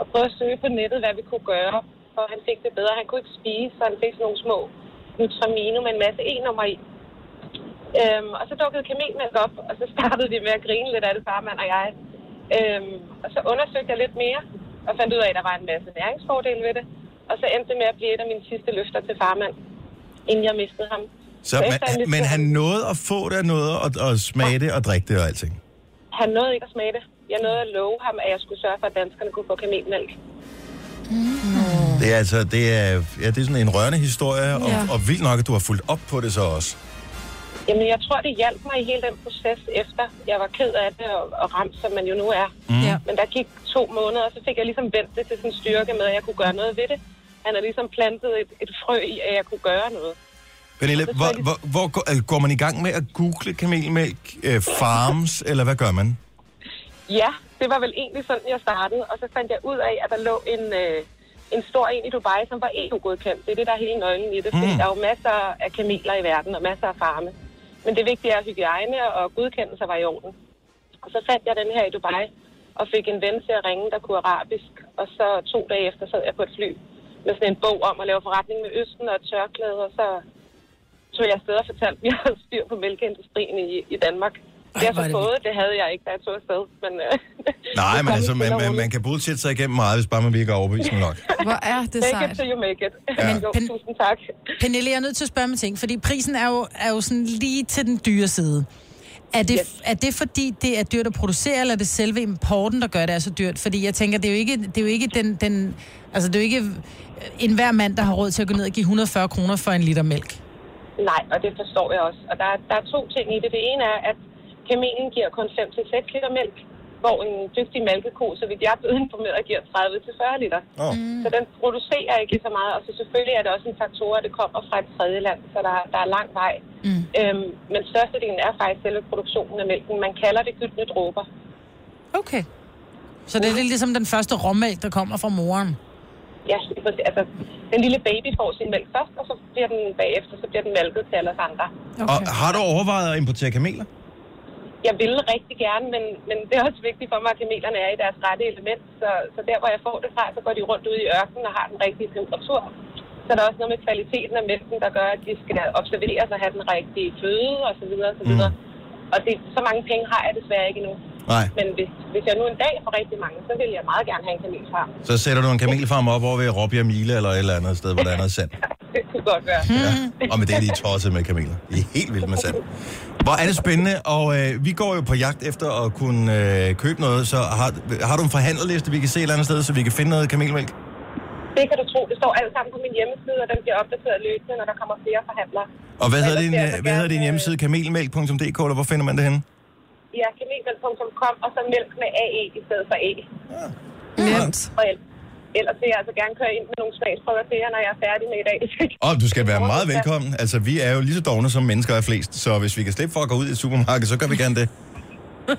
og prøvede at søge på nettet, hvad vi kunne gøre, for han fik det bedre. Han kunne ikke spise, så han fik sådan nogle små Nutramino med en masse E-nummer i. Øhm, og så dukkede kamelmælk op, og så startede vi med at grine lidt af det, farmand og jeg. Øhm, og så undersøgte jeg lidt mere, og fandt ud af, at der var en masse næringsfordele ved det. Og så endte det med at blive et af mine sidste løfter til farmand, inden jeg mistede ham.
Så man, men han nåede at få det, og nåede at, at smage det og drikke det og alting.
Han nåede ikke at smage det. Jeg nåede at love ham, at jeg skulle sørge for, at danskerne kunne få kamelmælk.
Det er altså, det er, ja, det er sådan en rørende historie, og,
Ja.
og vildt nok, at du har fulgt op på det så også.
Jamen, jeg tror, det hjalp mig i hele den proces efter. Jeg var ked af det og, og ramt, som man jo nu er.
Mm. Ja.
Men der gik to måneder, og så fik jeg ligesom vendt det til sådan en styrke med, at jeg kunne gøre noget ved det. Han har ligesom plantet et, et frø i, at jeg kunne gøre noget.
Pernille,
Og det tror
hvor,
jeg,
hvor, hvor går, øh, går man i gang med at google kamelmælk øh, farms, eller hvad gør man?
Ja, det var vel egentlig sådan, jeg startede. Og så fandt jeg ud af, at der lå en, øh, en stor en i Dubai, som var EU-godkendt. Det er det, der er hele nøglen i det. Fordi
Mm.
der er jo masser af kameler i verden og masser af farme. Men det vigtige er, at hygiejne og godkendelser var i orden. Og så fandt jeg den her i Dubai og fik en ven til at ringe, der kunne arabisk. Og så to dage efter sad jeg på et fly med sådan en bog om at lave forretning med Østen og et tørklæde. Og så tog jeg afsted og fortalte, at jeg havde styr på mælkeindustrien i, i Danmark. Det har jeg
hvor er
så
det
fået, det havde jeg ikke, da jeg tog afsted. Men, øh,
Nej,
det
men
kom
altså,
stille
man,
og
man, man
roligt.
kan bullshit sig igennem meget, hvis bare man virker overbevisende nok.
Hvor er det
Take it
sejt.
till you make it.
Ja.
Ja. jo,
Pen-
tusind tak.
Pernille, jeg er nødt til at spørge mig ting, fordi prisen er jo, er jo sådan lige til den dyre side. Er det, yes.
Yes.
er det fordi, det er dyrt at producere, eller er det selve importen, der gør det er så dyrt? Fordi jeg tænker, det er jo ikke, det er jo ikke den, den... Altså, det er jo ikke øh, enhver mand, der har råd til at gå ned og give 140 kroner for en liter mælk.
Nej, og det forstår jeg også. Og der, er- der er to ting i det. Det ene er, at kamelen giver kun 5-6 liter mælk, hvor en dygtig mælkeko, så vidt jeg er blevet informeret, giver 30-40 liter.
Åh, oh,
Så den producerer ikke lige så meget, og så selvfølgelig er det også en faktor, at det kommer fra et tredje land, så der, der er lang vej. Mm. Øhm, men størstedelen er faktisk selve produktionen af mælken. Man kalder det gyldne dråber.
Okay. Så det er lidt ligesom den første råmælk, der kommer fra moren.
Ja, det er præcis. altså, den lille baby får sin mælk først, og så bliver den bagefter, så bliver den mælket til alle os andre.
Og har du overvejet at importere kameler?
jeg ville rigtig gerne, men, men det er også vigtigt for mig, at kamelerne er i deres rette element. Så, så der, hvor jeg får det fra, så går de rundt ude i ørkenen og har den rigtige temperatur. Så der er også noget med kvaliteten af mælken, der gør, at de skal observeres og have den rigtige føde osv. Og, så videre, og,
Mm.
så videre. og det, så mange penge har jeg desværre ikke endnu.
Nej.
Men hvis, hvis jeg nu en dag får rigtig mange, så vil jeg meget gerne have en kamel fra.
Så sætter du en kamelfarm op over ved Råbjerg Mile eller et eller andet sted, hvor der er noget sand.
Det kunne godt være.
Ja. Og med det er de tosset med kameler. De er helt vildt med sand. Hvor er det spændende, og øh, vi går jo på jagt efter at kunne øh, købe noget, så har, har du en forhandlerliste, vi kan se et eller andet sted, så vi kan finde noget kamelmælk?
Det kan du tro. Det står alt sammen på min hjemmeside, og den bliver opdateret løbende, når der kommer flere forhandlere.
Og hvad
Så
hedder din,
ellers vil jeg så
øh, hvad hedder din
gerne,
hjemmeside? Kamelmælk.dk, eller hvor finder man det henne?
øh, Ja, kamelmælk.com, og så mælk med AE i stedet for E.
Nemt.
Og el- ellers vil jeg altså gerne køre ind med nogle smagsprøver til jer, når jeg er færdig med i dag.
Og du skal være meget
Ja.
velkommen. Altså, vi er jo lige så dogne, som mennesker er flest. Så hvis vi kan slippe for at gå ud i et supermarked, så gør vi gerne det.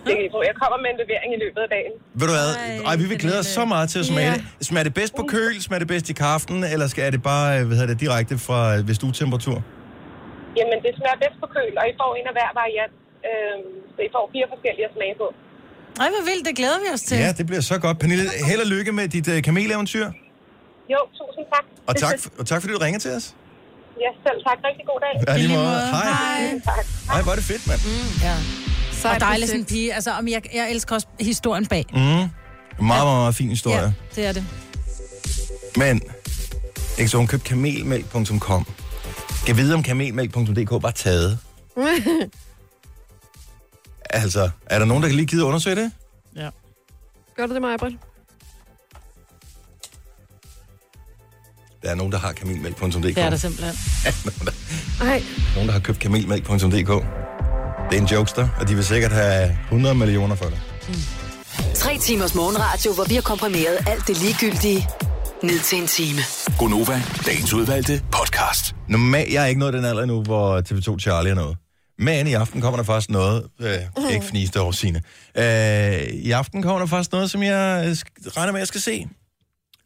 Det kan I få. Jeg kommer med en levering i løbet af dagen.
Ved du hvad?
Ej,
Ej, vi vil
den
glæde os
lille-
så meget til at smage
Ja.
yeah. det. Smager det bedst på køl? Smager det bedst i kaffen? Eller skal er det bare øh, hvad hedder det, direkte fra øh, ved stuetemperatur?
Jamen, det smager bedst på køl, og I får en af hver variant. Øhm, så I får fire forskellige at smage på.
Ej, hvor vildt, det glæder vi os til.
Ja, det bliver så godt. Pernille, held og lykke med dit øh, kameleventyr.
Jo, tusind tak.
Og tak, f- og tak fordi du ringer til os.
ja, selv tak. Rigtig god dag.
Ja,
I
lige
lige
måde.
måde.
Hej.
Hej.
Tak.
Hej, hvor er det fedt, mand.
Ja.
Sejt
Og dejlig sådan en
projekt.
pige. Altså, om jeg, jeg elsker også historien bag. Mm,
Mm. Meget, meget, meget fin historie.
ja,
Ja.
det er det.
Men, ikke så hun købte kamelmælk.com. Kan vide, om kamelmælk.dk var taget. altså, er der nogen, der kan lige gide at undersøge det?
Gør du det, Maja Britt?
Der er nogen, der har kamelmælk.dk.
Det er det simpelthen.
Nej.
Nogen, der har købt kamelmælk.dk. Det er en jokester, og de vil sikkert have 100 millioner for det.
Tre timers morgenradio, hvor vi har komprimeret alt det ligegyldige ned til en time.
Gonova, dagens udvalgte podcast.
Normalt, jeg er ikke nået den alder endnu, hvor TV2 Charlie er noget. Men i aften kommer der faktisk noget, øh, ikke fniste over sine. Øh, I aften kommer der faktisk noget, som jeg øh, sk- regner med, at jeg skal se.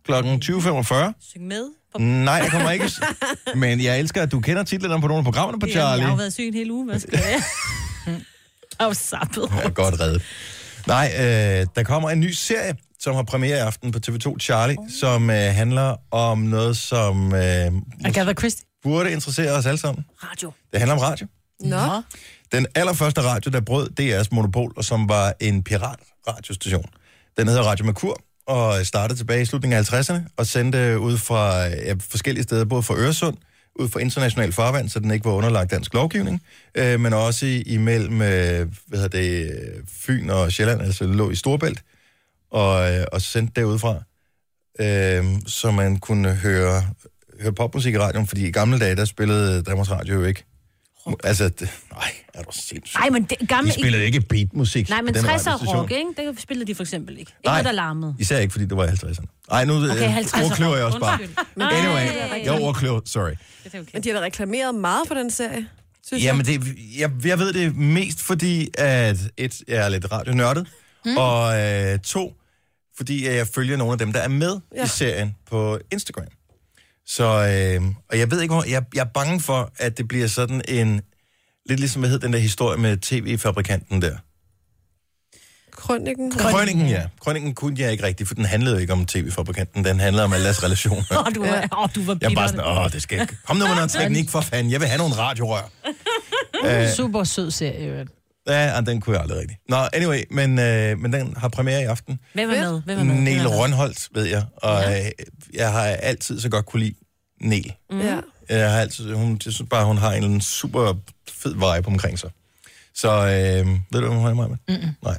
Klokken 20.45.
Syng med. På
Nej, jeg kommer ikke. s- Men jeg elsker, at du kender titlerne på nogle af programmerne på
Jamen,
Charlie.
jeg har jo været syg en hel uge, hvad skal jeg? Jeg er jo sappet.
Ja, godt reddet. Nej, øh, der kommer en ny serie, som har premiere i aften på TV2 Charlie, oh. som øh, handler om noget, som øh,
Agatha Christie.
burde interessere os alle sammen.
Radio.
Det handler om radio.
Nå.
Den allerførste radio, der brød DR's monopol, og som var en piratradiostation. Den hedder Radio Merkur, og startede tilbage i slutningen af 50'erne, og sendte ud fra ja, forskellige steder, både fra Øresund, ud fra international farvand, så den ikke var underlagt dansk lovgivning, øh, men også i, imellem øh, hvad hedder det, øh, Fyn og Sjælland, altså lå i Storbælt, og, øh, og sendte derudfra, øh, så man kunne høre, høre popmusik i radioen, fordi i gamle dage, der spillede Danmarks Radio jo ikke. Altså, det, nej, er du sindssygt.
Nej, men det, gamle...
De spillede ikke beatmusik.
Nej, men
på den
60'er
radiostation.
rock, ikke? Det spillede de for eksempel ikke. Ikke
Nej.
noget, der larmede.
Især ikke, fordi det var i 50'erne. Nej, nu okay,
Okay,
50
50'er
overkløver Øh, jeg også bare.
Undskyld.
Men anyway, jeg overkløver, sorry.
Det er okay.
Men de har da reklameret meget for den serie, synes
Jamen, det, jeg, jeg ved det mest, fordi at et, jeg er lidt radionørdet, mm. og øh, to, fordi at jeg følger nogle af dem, der er med ja.
Ja.
i serien på Instagram. Så, øh, og jeg ved ikke, hvor, jeg, jeg er bange for, at det bliver sådan en, lidt ligesom, hvad hed den der historie med tv-fabrikanten der.
jeg. Krønningen.
Krønningen, ja. Krønningen kunne jeg ikke rigtigt, for den handlede jo ikke om tv-fabrikanten, den handlede om alles relationer.
Åh, du, var- åh, du var bitter.
Jeg er bare sådan, åh, det skal ikke. Kom nu med noget teknik for fanden, jeg vil have nogle radiorør.
Øh. Super sød serie, i øvrigt.
Ja, og den kunne jeg aldrig rigtig. Nå, anyway, men, øh, men den har premiere i aften.
Hvem er med? Hvem er med?
Niel
Hvem er med?
Rønholdt, ved jeg, og øh, jeg har altid så godt kunne lide Niel.
Ja.
Mm.
Jeg har altid, hun, jeg synes bare, hun har en eller anden super fed vibe omkring sig. Så øh, ved du, hvem hun er med? Mm-mm. Nej.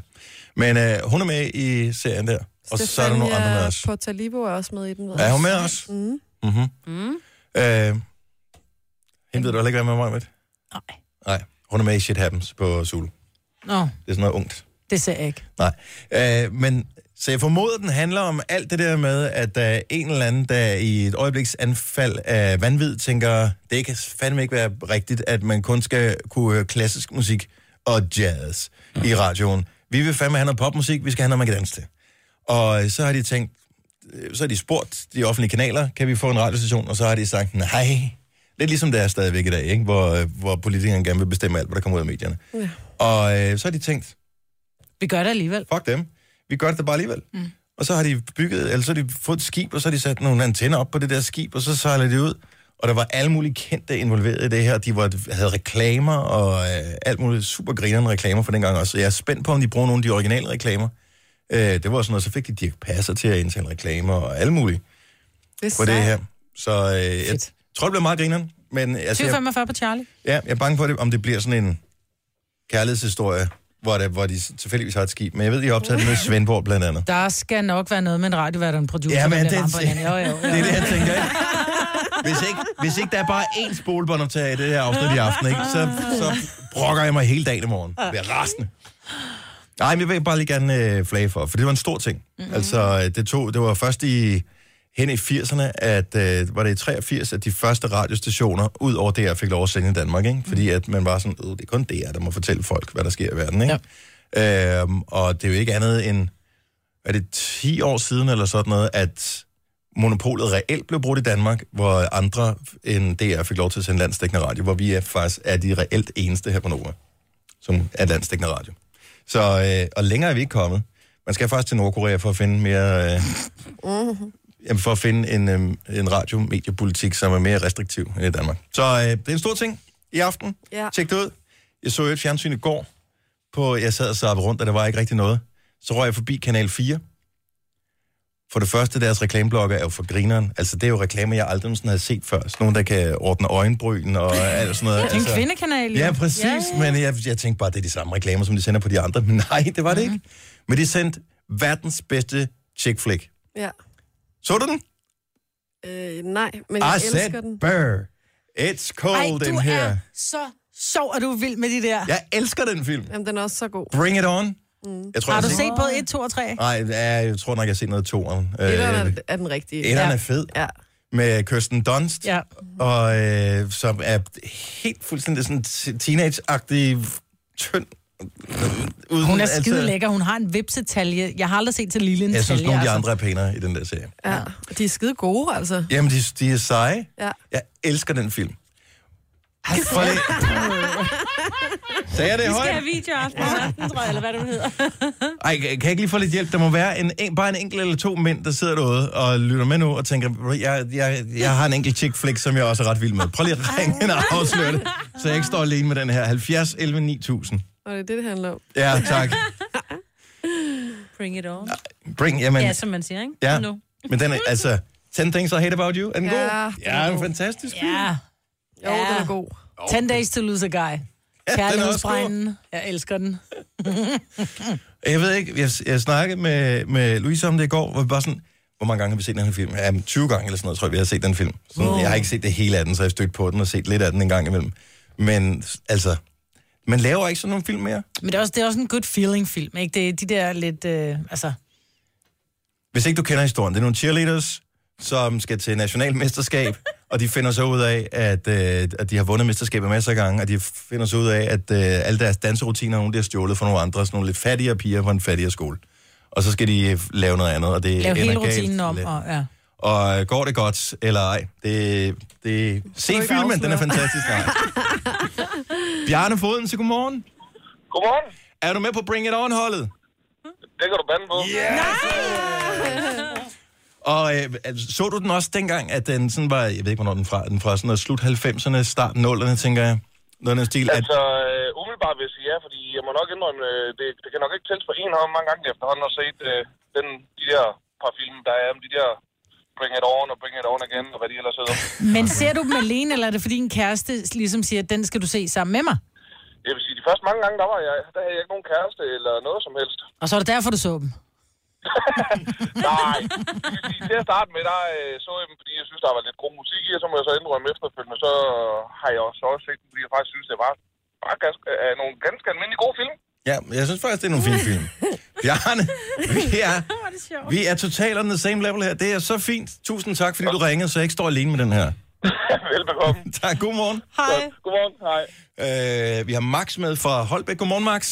Men øh, hun er med i serien der, og så er der nogle andre med os.
På Talibo er også med i den. ved
Er
jeg.
hun med os?
Mm.
Mm-hmm. Mm. Øh, hende ved du heller ikke, hvad med mig med?
Nej.
Nej, hun er med i Shit Happens på Zulu. Det
Nå,
er sådan noget ungt.
det ser jeg ikke.
Nej. Øh, men, så jeg formoder, den handler om alt det der med, at der er en eller anden, der i et øjebliks anfald af vanvid, tænker, det kan fandme ikke være rigtigt, at man kun skal kunne høre klassisk musik og jazz i radioen. Vi vil fandme have noget popmusik, vi skal have noget, man kan danse til. Og så har de tænkt, øh, så har de spurgt de offentlige kanaler, kan vi få en radiostation? Og så har de sagt, nej. Lidt ligesom det er stadigvæk i dag, ikke? Hvor, øh, hvor politikerne gerne vil bestemme alt, hvad der kommer ud af medierne. Ja. Og øh, så har de tænkt,
Vi gør det alligevel.
fuck dem, vi gør det da bare alligevel. Mm. Og så har de bygget, eller så har de fået et skib, og så har de sat nogle antenner op på det der skib, og så sejler de ud. Og der var alle mulige kendte involveret i det her. De var, havde reklamer og øh, alt muligt super grinerende reklamer for dengang også. Så jeg er spændt på, om de bruger nogle af de originale reklamer. Øh, det var sådan noget, så fik de Dirk Passer til at indtale reklamer og alt muligt
Det er
på det
sejt.
her. Så øh, jeg
Fedt.
tror, det bliver meget grineren. Men altså, jeg,
2045 på Charlie.
ja, jeg er bange for, det, om det bliver sådan en kærlighedshistorie, hvor, det, hvor de tilfældigvis har et skib. Men jeg ved, de har optaget det med Svendborg blandt andet.
Der skal nok være noget med en radiovært og en producer.
Ja, men
der
det,
bliver varm på hinanden. Jo, jo,
det er
jo.
det, jeg tænker, ikke? Hvis ikke, hvis ikke der er bare én spolebåndoptager i det her afsnit i aften, ikke? Så, så brokker jeg mig hele dagen i morgen. Jeg bliver rasende. Nej, men jeg vil bare lige gerne øh, flage for, for det var en stor ting. Mm-hmm. Altså, øh, det, tog, det var først i hen i 80'erne, at øh, var det i 83, at de første radiostationer ud over
Mm.
DR fik lov at sende i Danmark, ikke? Fordi at man var sådan, øh, det er kun DR, der må fortælle folk, hvad der sker i verden, ikke? Øhm, og det er jo ikke andet end, er det 10 år siden eller sådan noget, at monopolet reelt blev brudt i Danmark, hvor andre end DR fik lov til at sende landsdækkende radio, hvor vi er faktisk er de reelt eneste her på Nova, som er landsdækkende radio. Så, øh, og længere er vi ikke kommet. Man skal faktisk til Nordkorea for at finde mere... Øh, Jamen for at finde en, øhm, en radiomediepolitik, som er mere restriktiv end i Danmark. Så øh, det er en stor ting i aften.
Ja.
Tjek det ud. Jeg så jo et fjernsyn i går. På, jeg sad og sappede rundt, og der var ikke rigtig noget. Så røg jeg forbi Kanal 4. For det første, deres reklameblokker er jo for grineren. Altså, det er jo reklamer, jeg aldrig sådan havde set før. Sådan nogle, der kan ordne øjenbryn og alt sådan noget.
Det er en kvindekanal,
Altså.
jo.
Ja, præcis. Ja, ja. Men jeg, jeg tænkte bare, det er de samme reklamer, som de sender på de andre. Men nej, det var det
Mhm.
mm. ikke. Men de sendte verdens bedste chick flick.
Ja.
Så du den? Ah,
Øh, nej, men jeg
I
elsker
said
den.
burr. It's cold
Ej,
in
du
here.
er så sjov, og du er vild med de der.
Jeg elsker den film.
Jamen, den er også så god.
Bring it on. Mm. Jeg tror,
Har
jeg
du
har
set både 1, 2 og 3?
Nej, ja, jeg tror nok, jeg har set noget af toeren. Øh,
Etteren er, er den rigtige.
Etteren
ja.
er fed.
Ja.
Med Kirsten Dunst.
Ja.
Og øh, som er helt fuldstændig sådan t- teenage-agtig, tynd. øh, Uden, altså-
Hun er skide lækker. Hun har en vipsetalje. Jeg har aldrig set til lille en
Jeg synes,
talje,
nogle af de andre
altså.
er pænere i den der serie.
ja. Og De er skide gode, altså.
Jamen, de, de er seje.
Ja.
Jeg elsker den film. Ej, for det. Sagde jeg det højt?
Det er videoaften, aften, tror jeg, eller hvad du hedder.
Ej, kan jeg ikke lige få lidt hjælp? Der må være en, en, bare en enkelt eller to mænd, der sidder derude og lytter med nu og tænker, jeg, jeg, jeg har en enkelt chick flick, som jeg også er ret vild med. Prøv lige at ringe ind og afsløre det, så jeg ikke står alene med den her. 70 11 9000.
Og det er det, det handler om.
Ja, tak.
Bring it on.
Bring, jamen,
Ja, som man siger, ikke?
ja.
Nu.
Men den er, altså, 10 things I hate about you, er den
Ja,
god?
den er
Ja, den er
god.
fantastisk.
Ja. Ja.
Jo, den er god.
10 days to lose a guy. Kærlighedsbrænden. Jeg elsker den.
Jeg ved ikke, jeg, jeg snakkede med, med Louise om det i går, hvor vi bare sådan, hvor mange gange har vi set den her film? Ja, 20 gange eller sådan noget, tror jeg, vi har set den film. Sådan, Jeg har ikke set det hele af den, så jeg har stødt på den og set lidt af den en gang imellem. Men altså, man laver ikke sådan nogle film mere.
Men det er også, det er også en good feeling film, ikke? Det er de der lidt, øh, altså...
Hvis ikke du kender historien, det er nogle cheerleaders, som skal til nationalmesterskab, og de finder så ud af, at, øh, at de har vundet mesterskabet masser af gange, og de finder så ud af, at øh, alle deres danserutiner, er nogen, de har stjålet fra nogle andre, sådan nogle lidt fattigere piger fra en fattigere skole. Og så skal de øh, lave noget andet, og det
Lave
ender
hele
galt.
rutinen om, og ja.
Og øh, går det godt, eller ej? Det, det... Se
ikke
filmen, den er
afsløre.
fantastisk. Nej. Bjarne Foden, så godmorgen.
Godmorgen.
Er du med på Bring It On-holdet?
Det kan du bande på.
Yeah! Og øh, altså, så du den også dengang, at den sådan var, jeg ved ikke, hvornår den er fra, den er fra sådan noget slut 90'erne, start 0'erne, tænker jeg. Noget af den stil, at
Altså, øh, umiddelbart vil jeg sige ja, fordi jeg må nok indrømme, øh, det, det kan nok ikke tælles på en hånd hvor mange gange efterhånden at set øh, den, de der par film, der er om de der Bring It On og Bring It On igen, og hvad de ellers hedder.
Men ser du dem alene, eller er det fordi en kæreste ligesom siger, at den skal du se sammen med mig?
Jeg vil sige, de første mange gange, der var jeg, der havde jeg ikke nogen kæreste eller noget som helst.
Og så er det derfor, du så dem.
Nej, jeg vil sige, til at starte med, der øh, så jeg dem, fordi jeg synes, der var lidt god musik i, og så må jeg så indrømme efterfølgende, så har jeg også, også set dem, fordi jeg faktisk synes, det var bare ganske, øh, nogle ganske almindelige gode film.
Ja, jeg synes faktisk, det er nogle fine film. Bjarne, vi er, vi er totalt on the same level her. Det er så fint. Tusind tak, fordi du ringede, så jeg ikke står alene med den her.
Velbekomme.
Tak, godmorgen.
Hej. Godmorgen, hej.
Øh, vi har Max med fra Holbæk. Godmorgen, Max.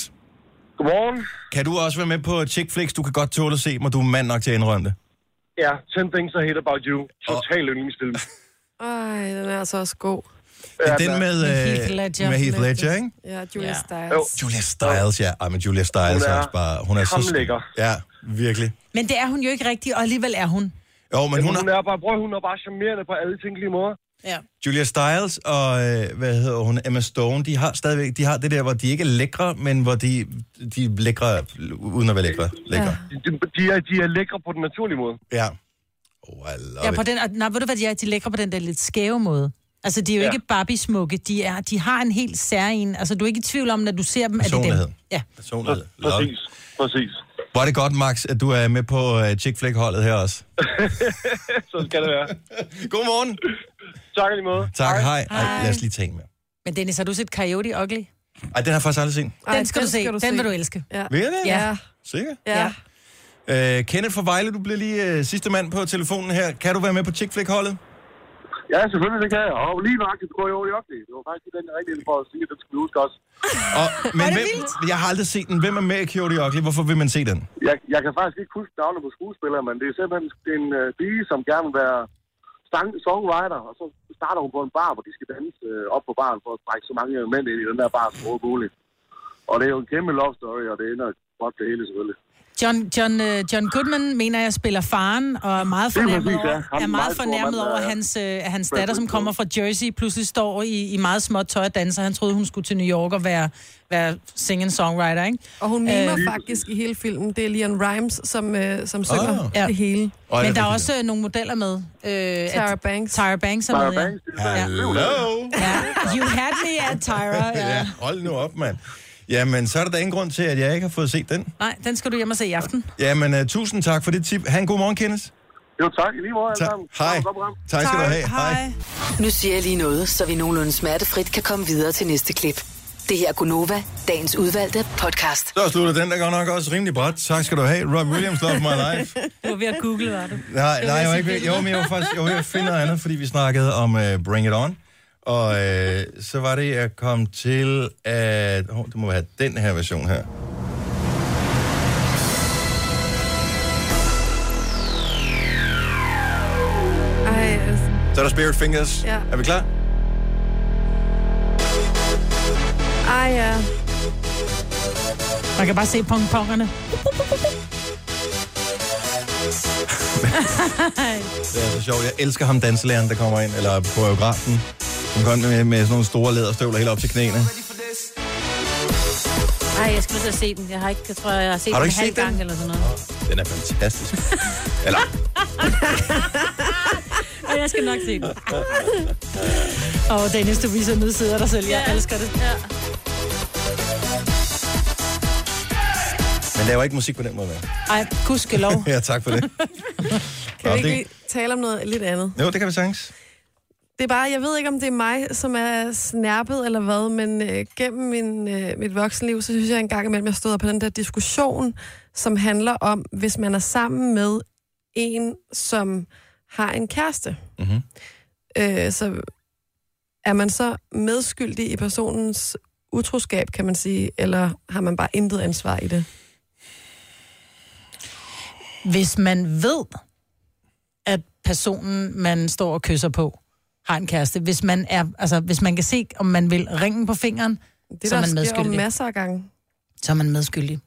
Godmorgen.
Kan du også være med på chick flicks? Du kan godt tåle at se mig, du er mand nok til at indrømme det.
Ja, 10 Things I Hate About You. Total yndlingsfilm.
Ej, den er altså også god.
Ja, den med,
Med
øh,
Heath Ledger.
med Heath Ledger, ikke?
Ja, Julia
Ja.
Stiles.
Jo.
Julia Stiles, ja. Ej, men Julia Stiles
Hun
er,
er
også bare... Hun er så...
hamlækker.
Ja, virkelig.
Men det er hun jo ikke rigtig, og alligevel er hun.
Jo, men hun,
hun
er...
er bare, bror, hun er bare charmerende på alle tænkelige måder.
Ja.
Julia Stiles og, øh, hvad hedder hun, Emma Stone, de har stadigvæk, de har det der, hvor de ikke er lækre, men hvor de, de er lækre, uden at være lækre. lækre.
De, de, de, er, de er lækre på den naturlige måde.
Ja. ja. Oh, I love
Ja,
it.
på den, og, nej, ved du hvad, de er? De er lækre på den der lidt skæve måde. Altså, de er jo ja.
Ja.
ikke Barbie-smukke. De, er, de har en helt særlig... Altså, du er ikke i tvivl om, når du ser dem, at det er
Personlighed.
dem. Ja.
Personlighed. Love it.
Præcis, præcis.
Hvor er det godt, Max, at du er med på øh, chick flick holdet her også.
Så skal det være.
Godmorgen.
Tak lige måde.
Tak, hej. Ej, lad os lige tage en mere.
Men Dennis, har du set Coyote Ugly?
Ej, den har jeg faktisk aldrig set.
Ej,
Den skal du se. Den vil du elske.
Ja.
Vil jeg det?
Ja.
Sikker?
Ja.
Ja.
Øh, Kenneth fra Vejle, du bliver lige øh, sidste mand på telefonen her. Kan du være med på chick flick holdet?
Ja, selvfølgelig, det kan jeg. Og lige nøjagtigt går jeg over i Oxley. Det var faktisk lige den, jeg ringede ind for at sige, at den skulle vi huske også.
Og, men hvem, jeg har aldrig set den. Hvem er med i Coyote Ugly? Hvorfor vil man se den?
Jeg, jeg kan faktisk ikke huske navnet på skuespillere, men det er simpelthen det er en øh, pige, som gerne vil være sang, songwriter, og så starter hun på en bar, hvor de skal danse øh, op på baren for at trække så mange mænd ind i den der bar som overhovedet muligt. Og det er jo en kæmpe love story, og det ender godt det hele selvfølgelig.
John, John, øh, John Goodman, mener jeg, spiller faren, og er meget
Lige
fornærmet
præcis, ja.
over,
Ham
er meget
den meget store
fornærmet
mand, der
over
er-
hans, øh, at hans
Brad
datter, som
Pitt.
kommer fra Jersey, pludselig står i, i meget småt tøj og danser. Han troede, hun skulle til New York og være, være singing-songwriter, ikke?
Og hun mimer øh, faktisk i hele filmen. Det er Leon Rimes, som, øh, som synger
Ah.
oh,
Ja.
ja. det hele.
Og
Men der er
rigtigt,
også øh, nogle modeller med. Øh,
Tyra
at-
Banks.
Tyra Banks er
Tyra
med, ja.
Banks, det er
ja.
sådan, det er jo
Hello!
lavet.
ja. You had me at Tyra, ja.
Ja, hold nu op, mand. Jamen, så er der da ingen grund til, at jeg ikke har fået set den.
Nej, den skal du hjem og se i aften.
Jamen, uh, tusind tak for det tip. Ha' en god morgen, Kenneth.
Jo, tak. I lige måde, alle
Tak.
sammen.
Hej.
Godt program.
Tak skal du have. Hej.
Nu siger jeg lige noget, så vi nogenlunde smertefrit kan komme videre til næste klip. Det her er Gunova, dagens udvalgte podcast.
Så slutter den der godt nok også rimelig bræt. Tak skal du have. Rob Williams, Love My Life.
Du var ved at google, var du?
Nej, nej, jeg var ikke ved. Jo, men jeg var faktisk jeg var ved at finde noget andet, fordi vi snakkede om uh, Bring It On. Og uh, så var det, jeg kom til at... Oh, det må have den her version her.
Ej, altså,
Så er der Spirit Fingers.
Ja.
Er vi klar?
ej ja.
Man kan bare se pongpongerne.
Det er så sjovt. Jeg elsker ham danselæreren, der kommer ind, eller koreografen, som kommer med, med sådan nogle store læderstøvler helt op til knæene.
Nej, jeg skulle til at se den. Jeg har ikke, jeg tror, jeg har set
Har du
den en
ikke set
halv
den?
gang eller sådan noget.
Den er fantastisk. Eller,
Og jeg skal nok se den.
Og Dennis, du viser nedsider dig selv. Jeg
Ja.
elsker det.
Ja.
man laver ikke musik på den måde. vel?
Ej, gudskelov.
Ja, tak for det. Nå,
Kan vi ikke
det-
lige tale om noget lidt andet?
Jo, det kan vi sagtens.
Det er bare, jeg ved ikke, om det er mig, som er snærpet eller hvad, men øh, gennem min, øh, mit voksenliv, så synes jeg en gang imellem, jeg stod på den der diskussion, som handler om, hvis man er sammen med en, som har en kæreste,
Mhm.
øh, så er man så medskyldig i personens utroskab, kan man sige, eller har man bare intet ansvar i det?
Hvis man ved, at personen, man står og kysser på, har en kæreste. Hvis man, er, altså, hvis man kan se, om man vil ringen på fingeren,
Det
Så er
der
man
sker jo
medskyldig.
masser af gange.
så er man medskyldig.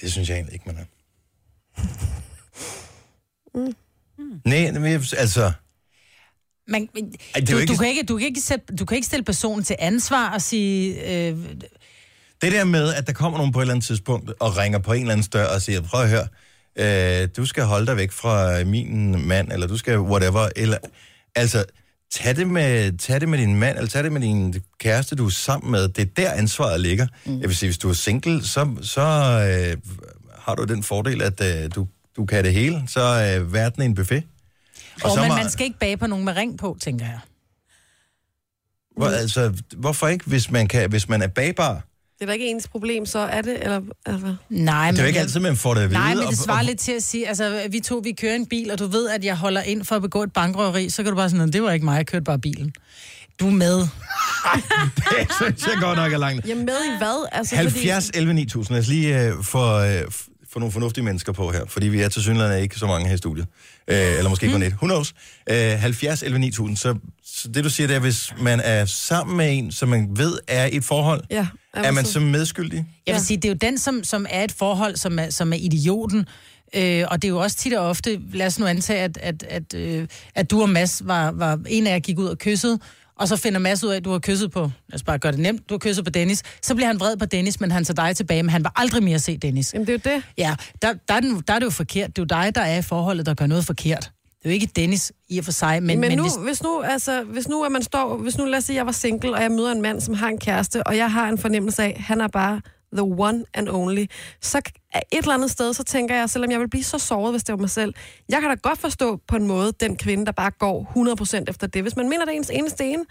Det synes jeg egentlig ikke, man er.
Mm.
Nej, men jeg- altså...
Man,
er
du,
jo
ikke...
ikke-
Du, kan ikke, du, kan ikke sætte, du kan ikke stille personen til ansvar og sige... Øh,
Det der med, at der kommer nogen på et eller andet tidspunkt og ringer på en eller anden dør og siger, prøv at høre, øh, du skal holde dig væk fra min mand, eller du skal whatever, eller... Altså, tag det, med, tag det med din mand, eller tag det med din kæreste, du er sammen med. Det er der ansvaret ligger. Mm. Jeg vil sige, hvis du er single, så, så øh, har du den fordel, at øh, du, du kan det hele. Så øh, verden er en buffet.
og
så
men
må-
man skal ikke bage på nogen med ring på, tænker jeg.
Hvor, altså, hvorfor ikke, hvis man, kan, hvis man er bagbar? Det
Det er da ikke ens problem, så er det, eller, altså? eller hvad?
Nej, men
er jo ikke
jeg-
altid, man får det at vide.
Nej, men
og-
det svarer
og-
lidt til at sige, altså vi to, vi kører en bil, og du ved, at jeg holder ind for at begå et bankrøveri, så kan du bare sådan, "Nå, det var ikke mig, jeg kørte bare bilen. Du er med.
Det synes jeg godt nok er langt.
Jeg med i hvad? Altså,
70, 11, 9000. Lad os lige øh, få, øh, f- få nogle fornuftige mennesker på her, fordi vi er til synligheden ikke så mange her i studiet. Øh, eller måske
Hmm.
kun et. Who knows? Øh, 70, 11, 9000. Så, så det du siger, det er, hvis man er sammen med en, som man ved er i et forhold,
Ja, altså-
er man så medskyldig?
Jeg vil
Ja.
sige, det er jo den, som, som er et forhold, som er, som er idioten. Øh, og det er jo også tit og ofte, lad os nu antage, at, at, at, øh, at du og Mads var, var, en af jer gik ud og kyssede, og så finder Mads ud af, at du har kysset på, lad os bare gøre det nemt, du har kysset på Dennis. Så bliver han vred på Dennis, men han tager dig tilbage, men han vil aldrig mere se Dennis.
Jamen, det er jo det.
Ja, der, der, er den, der er det jo forkert. Det er jo dig, der er i forholdet, der gør noget forkert. Det er jo ikke Dennis i og for sig, men,
Men, men nu,
hvis,
hvis... hvis nu, altså, hvis nu, at man står, hvis nu, lad os sige, jeg var single, og jeg møder en mand, som har en kæreste, og jeg har en fornemmelse af, han er bare the one and only, så k- et eller andet sted, så tænker jeg, selvom jeg vil blive så såret, hvis det var mig selv, jeg kan da godt forstå på en måde den kvinde, der bare går 100% efter det. Hvis man mener, det er ens eneste ene,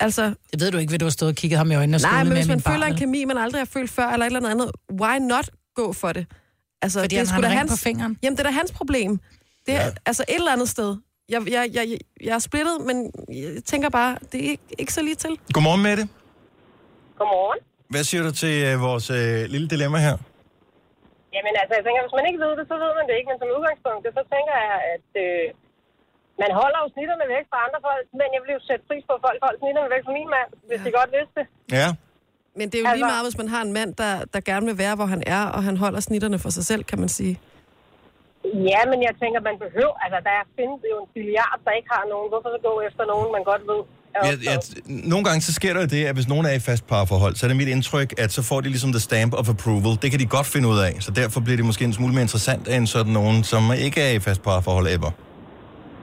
altså,
det ved du ikke, ved du har stået og kigget ham i øjnene og
nej,
skålet
men
med
hvis man
min
føler
barn,
en
vel?
kemi, man aldrig har følt før, eller et eller andet, why not gå for det? Altså,
Fordi
det er
han
sgu
har
da
en ring
hans,
på fingeren.
Jamen, det er da hans problem. Det er,
Ja.
ja. Altså, et eller andet sted. Jeg, jeg, jeg, jeg er splittet, men jeg tænker bare, det er ikke, ikke så lige til.
Godmorgen, Mette.
Godmorgen.
Hvad siger du til øh, vores øh, lille dilemma her?
Jamen altså, jeg tænker, hvis man ikke ved det, så ved man det ikke. Men som udgangspunkt, så tænker jeg, at øh, man holder jo snitterne væk fra andre folk, men jeg vil jo sætte pris på, at folk holder snitterne væk fra min mand, hvis de godt vidste det.
Ja.
Men det er jo altså...
Altså-
lige meget, hvis man har en mand, der, der gerne vil være, hvor han er, og han holder snitterne for sig selv, kan man sige.
Ja, men jeg tænker, man behøver, altså der findes jo en milliard, der ikke har nogen. Hvorfor så gå efter nogen, man godt ved? er
Jeg, jeg,
optaget?
nogle gange så sker der jo det, at hvis nogen er i fast parforhold, så er det mit indtryk, at så får de ligesom the stamp of approval. Det kan de godt finde ud af, så derfor bliver det måske en smule mere interessant end sådan nogen, som ikke er i fast parforhold ever.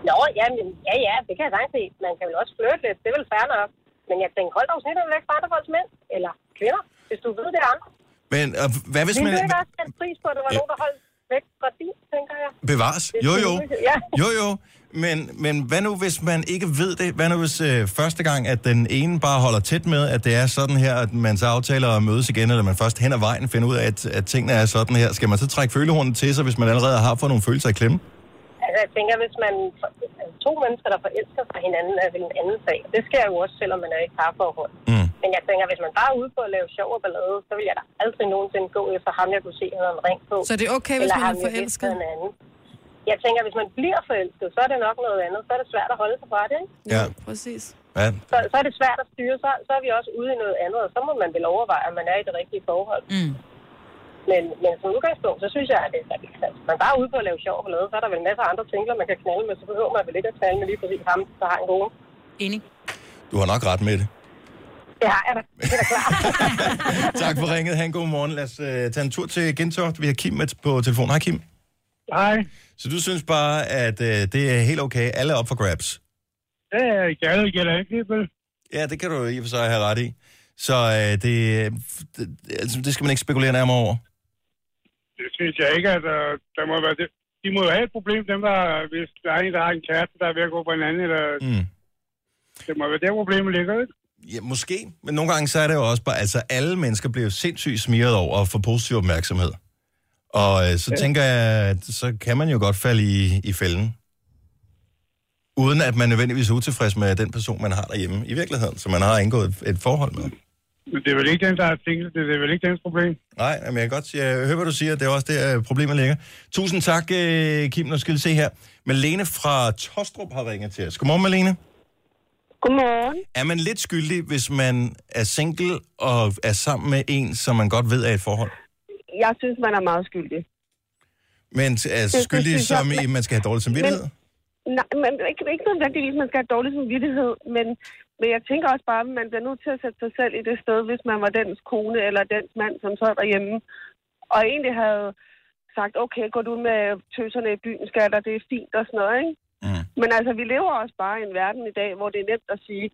Nå, ja, men, ja, ja, det kan jeg sagtens se. Man kan vel også flirte lidt, det er vel fair nok. Men jeg tænker, hold dog snitterne væk fra andre folks mænd, eller kvinder, hvis du ved det er andre.
Men og hvad hvis
Vi
man...
vil ikke også sætte pris på, at der var
Ja.
nogen, der holdt væk fra din, tænker jeg.
Bevares.
Hvis
Jo,
det er
jo.
muligt, ja.
Jo, jo. Men, men hvad nu, hvis man ikke ved det? Hvad nu, hvis øh, første gang, at den ene bare holder tæt med, at det er sådan her, at man så aftaler at mødes igen, eller man først hen ad vejen finder ud af, at, at tingene er sådan her. Skal man så trække følehornene til sig, hvis man allerede har fået nogle følelser i klemme?
Altså, jeg tænker, hvis man to mennesker, der forelsker sig hinanden, er vel en anden sag. Det sker jo også, selvom man er i et parforhold.
Mm.
Men jeg tænker, hvis man bare er ude på at lave sjov og ballade, så vil jeg da aldrig nogensinde gå efter ham, jeg kunne se, han havde en ring på.
Så det er okay, hvis
eller
man er
ham, jeg vidste
forelsket?
havde en anden. Jeg tænker, hvis man bliver forelsket, så er det nok noget andet. Så er det svært at holde sig fra det, ikke?
Ja.
Præcis.
ja.
Så, så er det svært at styre. Så, så er vi også ude i noget andet, og så må man vel overveje, om man er i det rigtige forhold.
Mm.
Men, men som udgangspunkt, så synes jeg, at det er vigtigt. Man er bare er ude på at lave sjov og ballade, så er der vel masser af andre singler, man kan knalde med. Så behøver man vel ikke at knalde med lige præcis ham, der har en kone.
Enig.
Du har nok ret med det.
Det har jeg da. Det er da klart.
Tak for ringet. Ha' en god morgen. Lad os øh, tage en tur til Gentoft. Vi har Kim med på telefon. Hej Kim.
Hej.
Så du synes bare, at øh, det er helt okay. Alle er op for grabs.
Det er gældig, gældig ikke,
Ja, det kan du i og for sig have ret i. Så øh, det, øh, det, altså, det skal man ikke spekulere nærmere over.
Det synes jeg ikke, at uh, der må være det. De må jo have et problem, dem der, hvis der er en, der har en kæreste, der er ved at gå på en anden, eller
Mm.
det må være der problemet ligger, ikke?
Ja, måske. Men nogle gange så er det jo også bare, altså alle mennesker bliver jo sindssygt smiret over at få positiv opmærksomhed. Og øh, så ja. tænker jeg, at så kan man jo godt falde i, i fælden. Uden at man nødvendigvis er utilfreds med den person, man har derhjemme i virkeligheden, som man har indgået et, et forhold med.
Men det er vel ikke den, der er single, det er vel ikke dens problem.
Nej, men jeg kan godt sige, jeg hører, hvad du siger. Det er også der, øh, problemet ligger. Tusind tak, øh, Kim. Nu skal vi se her. Malene fra Tostrup har ringet til os. Godmorgen, Malene.
Godmorgen.
Er man lidt skyldig, hvis man er single og er sammen med en, som man godt ved er i et forhold?
Jeg synes, man er meget skyldig.
Men er
det
skyldig,
synes jeg,
som i,
men-
man skal have dårlig samvittighed?
Nej, men ikke, ikke nødvendigvis, man skal have dårlig samvittighed, men, men jeg tænker også bare, at man bliver nødt til at sætte sig selv i det sted, hvis man var dens kone eller dens mand, som sad derhjemme, og egentlig havde sagt, okay, går du med tøserne i byen, skatter, det er fint og sådan noget, ikke?
Mm.
Men altså, vi lever også bare i en verden i dag, hvor det er nemt at sige,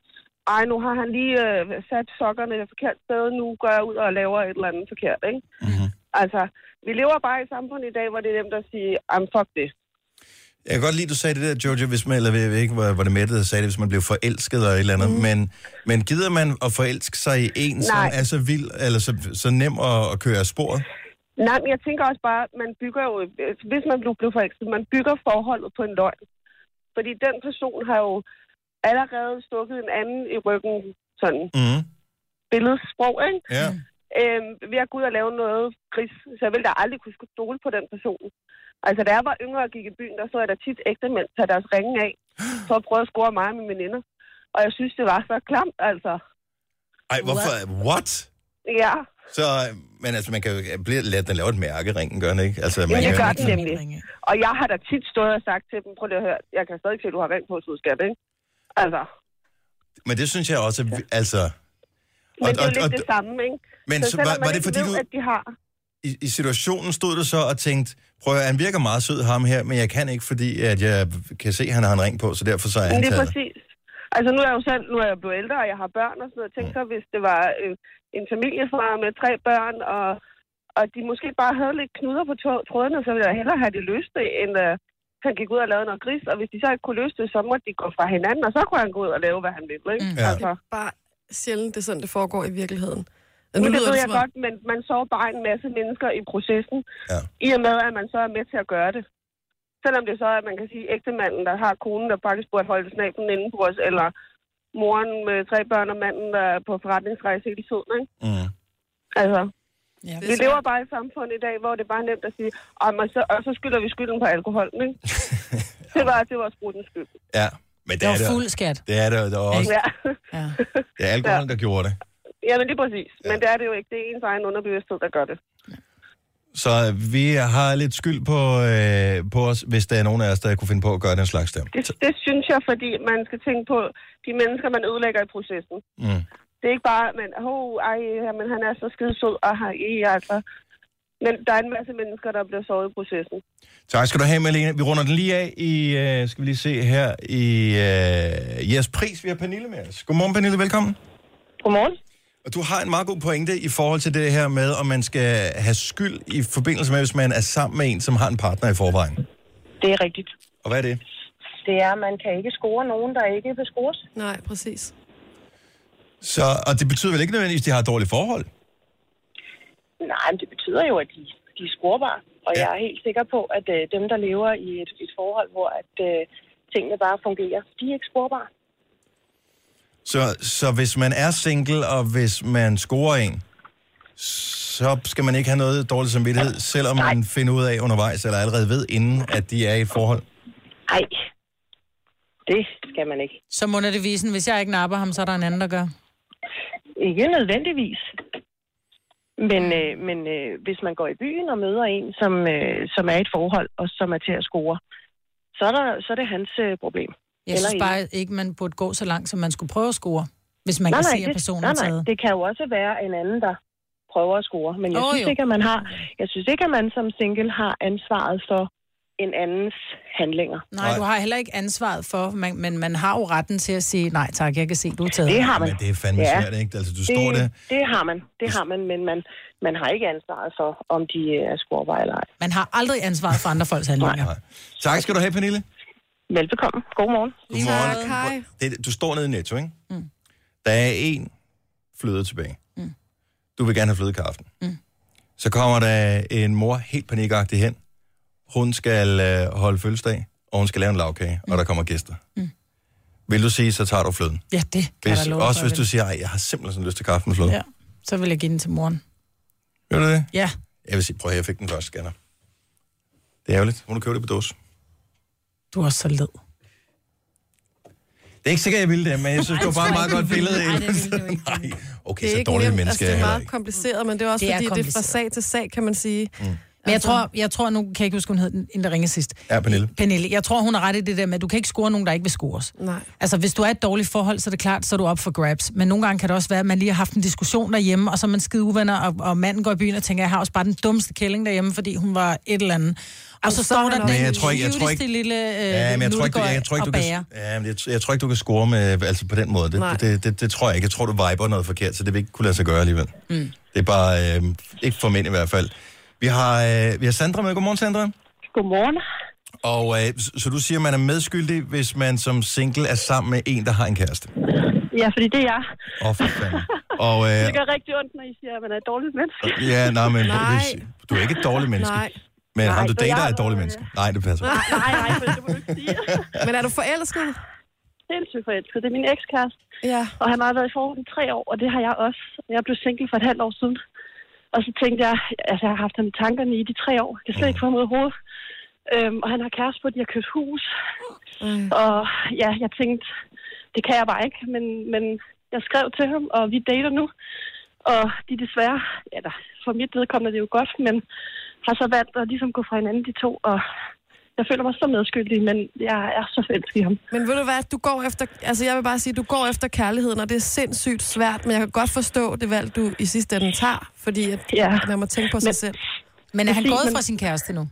ej, nu har han lige øh, sat sokkerne et forkert sted, nu går jeg ud og laver et eller andet forkert, ikke?
Mhm.
Altså, vi lever bare i et samfund i dag, hvor det er nemt at sige, I'm fuck det.
Jeg kan godt lide, du sagde det der, Jojo, hvis man, eller jeg ved ikke, var, var det Mette, der sagde det, hvis man blev forelsket eller et eller andet, mm. men, men gider man at forelske sig i en, som
Nej.
er så vild, eller så, så nem at, at køre af sporet?
Nej, men jeg tænker også bare, man bygger jo, altså, hvis man blev blev forelsket, man bygger forholdet på en løgn. Fordi den person har jo allerede stukket en anden i ryggen, sådan
Mm.
billedsprog, ikke?
Ja.
Øhm, ved at gå ud og lave noget gris, så jeg ville da aldrig kunne stole på den person. Altså, da jeg var yngre og gik i byen, der så jeg da tit ægte mænd tage deres ringe af, for at prøve at score mig og mine veninder. Og jeg synes, det var så klamt, altså.
Ej, hvorfor? What?
Ja,
Så, men altså, man kan jo blive, lad den lave et mærke, ringen gør den ikke? Altså, man
det
kan,
gør
jo
den. nemlig. og jeg har da tit stået og sagt til dem, prøv lige at høre, jeg kan stadig se, at du har ring på, så du skal, ikke? Altså.
ikke- Men det synes jeg også, at vi- altså...
Men det er jo lidt det samme, ikke?
men så, var,
selvom man
var det
ikke
fordi,
ved,
du
at de har...
i, i situationen stod du så og tænkte, prøv at høre, han virker meget sød ham her, men jeg kan ikke, fordi at jeg kan se, at han har en ring på, så derfor så er
Men
han
det er
taget.
præcis. Altså, nu er jeg jo selv, nu er jeg blevet ældre, og jeg har børn og sådan noget. Tænk så,
Mm.
hvis det var en, en familiefar med tre børn, og, og de måske bare havde lidt knuder på tå- trådene, så ville jeg hellere have det løst det, end uh, han gik ud og lavede noget gris. Og hvis de så ikke kunne løse det, så måtte de gå fra hinanden, og så kunne han gå ud og lave, hvad han ville, ikke?
Mm.
Ja.
Altså,
Bare sjældent, det er sådan, det foregår i virkeligheden.
nu det ved
det,
jeg
som om-
godt, men man så bare en masse mennesker i processen,
Ja.
i og med, at man så er med til at gøre det.
Selvom det så er, at man kan sige, ægtemanden, der har konen, der faktisk burde holde snablen inde på os, eller moren med tre børn og manden, der er på forretningsrejse hele tiden, ikke?
Mm.
Altså,
ja,
vi lever bare i et samfund i dag, hvor det bare er nemt at sige, og, man så, og så skylder vi skylden på alkoholen, ikke? det var, det var sprutens skyld.
Ja, men det
Det
er
var
det.
fuld
skat.
Det er det, det er også.
Ja.
Det er alkoholen, der gjorde det.
ja, men det er præcis. Men det er det jo ikke. Det er ens egen underbevidsthed, der gør det.
Så vi har lidt skyld på, øh, på os, hvis der er nogen af os, der kunne finde på at gøre den slags der.
Det, det synes jeg, fordi man skal tænke på de mennesker, man ødelægger i processen.
Mm.
Det er ikke bare, men oh, ej, men han er så skide sød, og har i, altså. Men der er en masse mennesker, der bliver såret i processen.
Tak skal du have, Malene. Vi runder den lige af i, øh, skal vi lige se her, i øh, jeres pris. Vi har Pernille med os. Godmorgen, Pernille. Velkommen.
Godmorgen.
Og du har en meget god pointe i forhold til det her med, om man skal have skyld i forbindelse med, hvis man er sammen med en, som har en partner i forvejen.
Det er rigtigt.
Og hvad er det?
Det er, at man kan ikke score nogen, der ikke vil scores. Nej, præcis.
Så, og det betyder vel ikke nødvendigvis, at de har et dårligt forhold?
Nej, men det betyder jo, at de, de er scorebare. Og ja. jeg er helt sikker på, at øh, dem, der lever i et, et forhold, hvor at, øh, tingene bare fungerer, de er ikke scorebare.
Så, så hvis man er single, og hvis man scorer en, så skal man ikke have noget dårlig samvittighed, selvom man finder ud af undervejs, eller allerede ved inden, at de er i et forhold.
Nej, det skal man ikke.
Så må det visen, hvis jeg ikke napper ham, så er der en anden, der gør.
Ikke nødvendigvis. Men, øh, men øh, hvis man går i byen og møder en, som, øh, som er i et forhold, og som er til at score, så er, der, så er det hans øh, problem.
Jeg synes
hende.
bare ikke, man burde gå så langt, som man skulle prøve at score, hvis man kan se, at personen
nej,
er
nej,
taget.
det kan jo også være en anden, der prøver at score. Men jeg,
Åh,
oh, synes,
jo.
ikke, at man har, jeg synes ikke, at man som single har ansvaret for en andens handlinger.
Nej, du har heller ikke ansvaret for, man, men man har jo retten til at sige, nej tak, jeg kan se, du er taget.
Det har man.
Men det er fandme
Ja.
svært, ikke? Altså, du står der...
Det har man, det har man, men man, man har ikke ansvaret for, om de øh, er scorebare eller ej.
Man har aldrig ansvaret for andre folks handlinger.
Nej. Tak skal du have, Pernille.
Velbekomme. Godmorgen.
Godmorgen. Det, du står nede i Netto, ikke? Mm. Der er en fløde tilbage. Mm. Du vil gerne have flødekaffe. Mm. Så kommer der en mor helt panikagtig hen. Hun skal øh, holde fødselsdag, og hun skal lave en lavkage, mm. og der kommer gæster. Mm. Vil du sige, så tager du fløden?
Ja, det kan
Hvis,
jeg da love
også
for,
hvis
jeg
du
vil.
siger, at jeg har simpelthen sådan lyst til kaffe med fløde. Ja.
Ja, så vil jeg give den til moren.
Ved du det?
Ja,
Jeg vil sige, prøv at høre, jeg fik den første scanner. Det er ærgerligt. Må du købe det på dåse.
du er også så led.
Det er ikke sikkert, jeg ville det, men jeg synes, det var bare et meget godt billede.
Nej, det ville
Nej, okay,
det er
så
ikke
dårlige
nemt.
mennesker
altså,
er
det er
jeg heller
meget
ikke.
kompliceret, men det er også
Det er
fordi, det er fra
kompliceret.
sag til sag, kan man sige. Mm.
Men jeg tror, jeg tror nu, kan jeg ikke huske, hun hed den, inden der ringede sidst.
Ja, Pernille.
Pernille, jeg tror, hun har ret i det der med, at du kan ikke score nogen, der ikke vil scores.
Nej.
Altså, hvis du er i et dårligt forhold, så er det klart, så er du op for grabs. Men nogle gange kan det også være, at man lige har haft en diskussion derhjemme, og så er man skide uvenner, og, og manden går i byen og tænker, jeg har også bare den dummeste kælling derhjemme, fordi hun var et eller andet. Og så,
så
står
er
der
han
den
også-
Men jeg tror ikke, jeg tror
cuteste
ikke-
lille øh,
Ja, men jeg tror ikke, du- jeg tror ikke, du
og
kan,
bager.
ja, men jeg, jeg tror ikke, du kan score med, altså på den måde. Det,
Nej.
det, det, det, det tror jeg ikke. Jeg tror, du viber noget forkert, så det vil ikke kunne lade sig gøre alligevel. Mm. Det er bare, øh, ikke for mænd i hvert fald. Vi har, øh, vi har Sandra med. Godmorgen, Sandra.
Godmorgen.
Og øh, så, så du siger, at man er medskyldig, hvis man som single er sammen med en, der har en kæreste.
Ja, fordi det er jeg.
Åh, oh, for fanden. Og, øh,
Det gør rigtig ondt, når I siger, at man er et dårligt menneske.
ja, nej, men
Nej.
hvis- du er ikke et dårligt menneske.
Nej.
Men ham, du
så jeg
dater, er
har
et dårligt menneske. Nej, det passer.
Nej, nej, nej, men det må du ikke sige.
Men er du forelsket?
Sindssygt forelsket. Det er min ekskæreste.
Ja.
Og han har været i forhold i tre år, og det har jeg også. Jeg blev single for et halvt år siden. Og så tænkte jeg, altså jeg har haft ham i tankerne i de tre år. Jeg kan slet ikke få ham ud af hovedet. Øhm, og han har kæreste på, de har købt hus.
Mm.
Og ja, jeg tænkte, det kan jeg bare ikke. Men, men jeg skrev til ham, og vi dater nu. Og de er desværre, eller for mit vedkommende er det jo godt, men har så valgt at ligesom gå fra hinanden de to. Og jeg føler mig så medskyldig, men jeg er så forelsket i ham.
Men ved du hvad, du går efter, altså jeg vil bare sige, du går efter kærligheden, og det er sindssygt svært, men jeg kan godt forstå det valg, du i sidste ende tager, fordi at
Ja.
man må tænke på sig
Men-
selv.
Men er han
Præcis,
gået
men-
fra sin kæreste nu?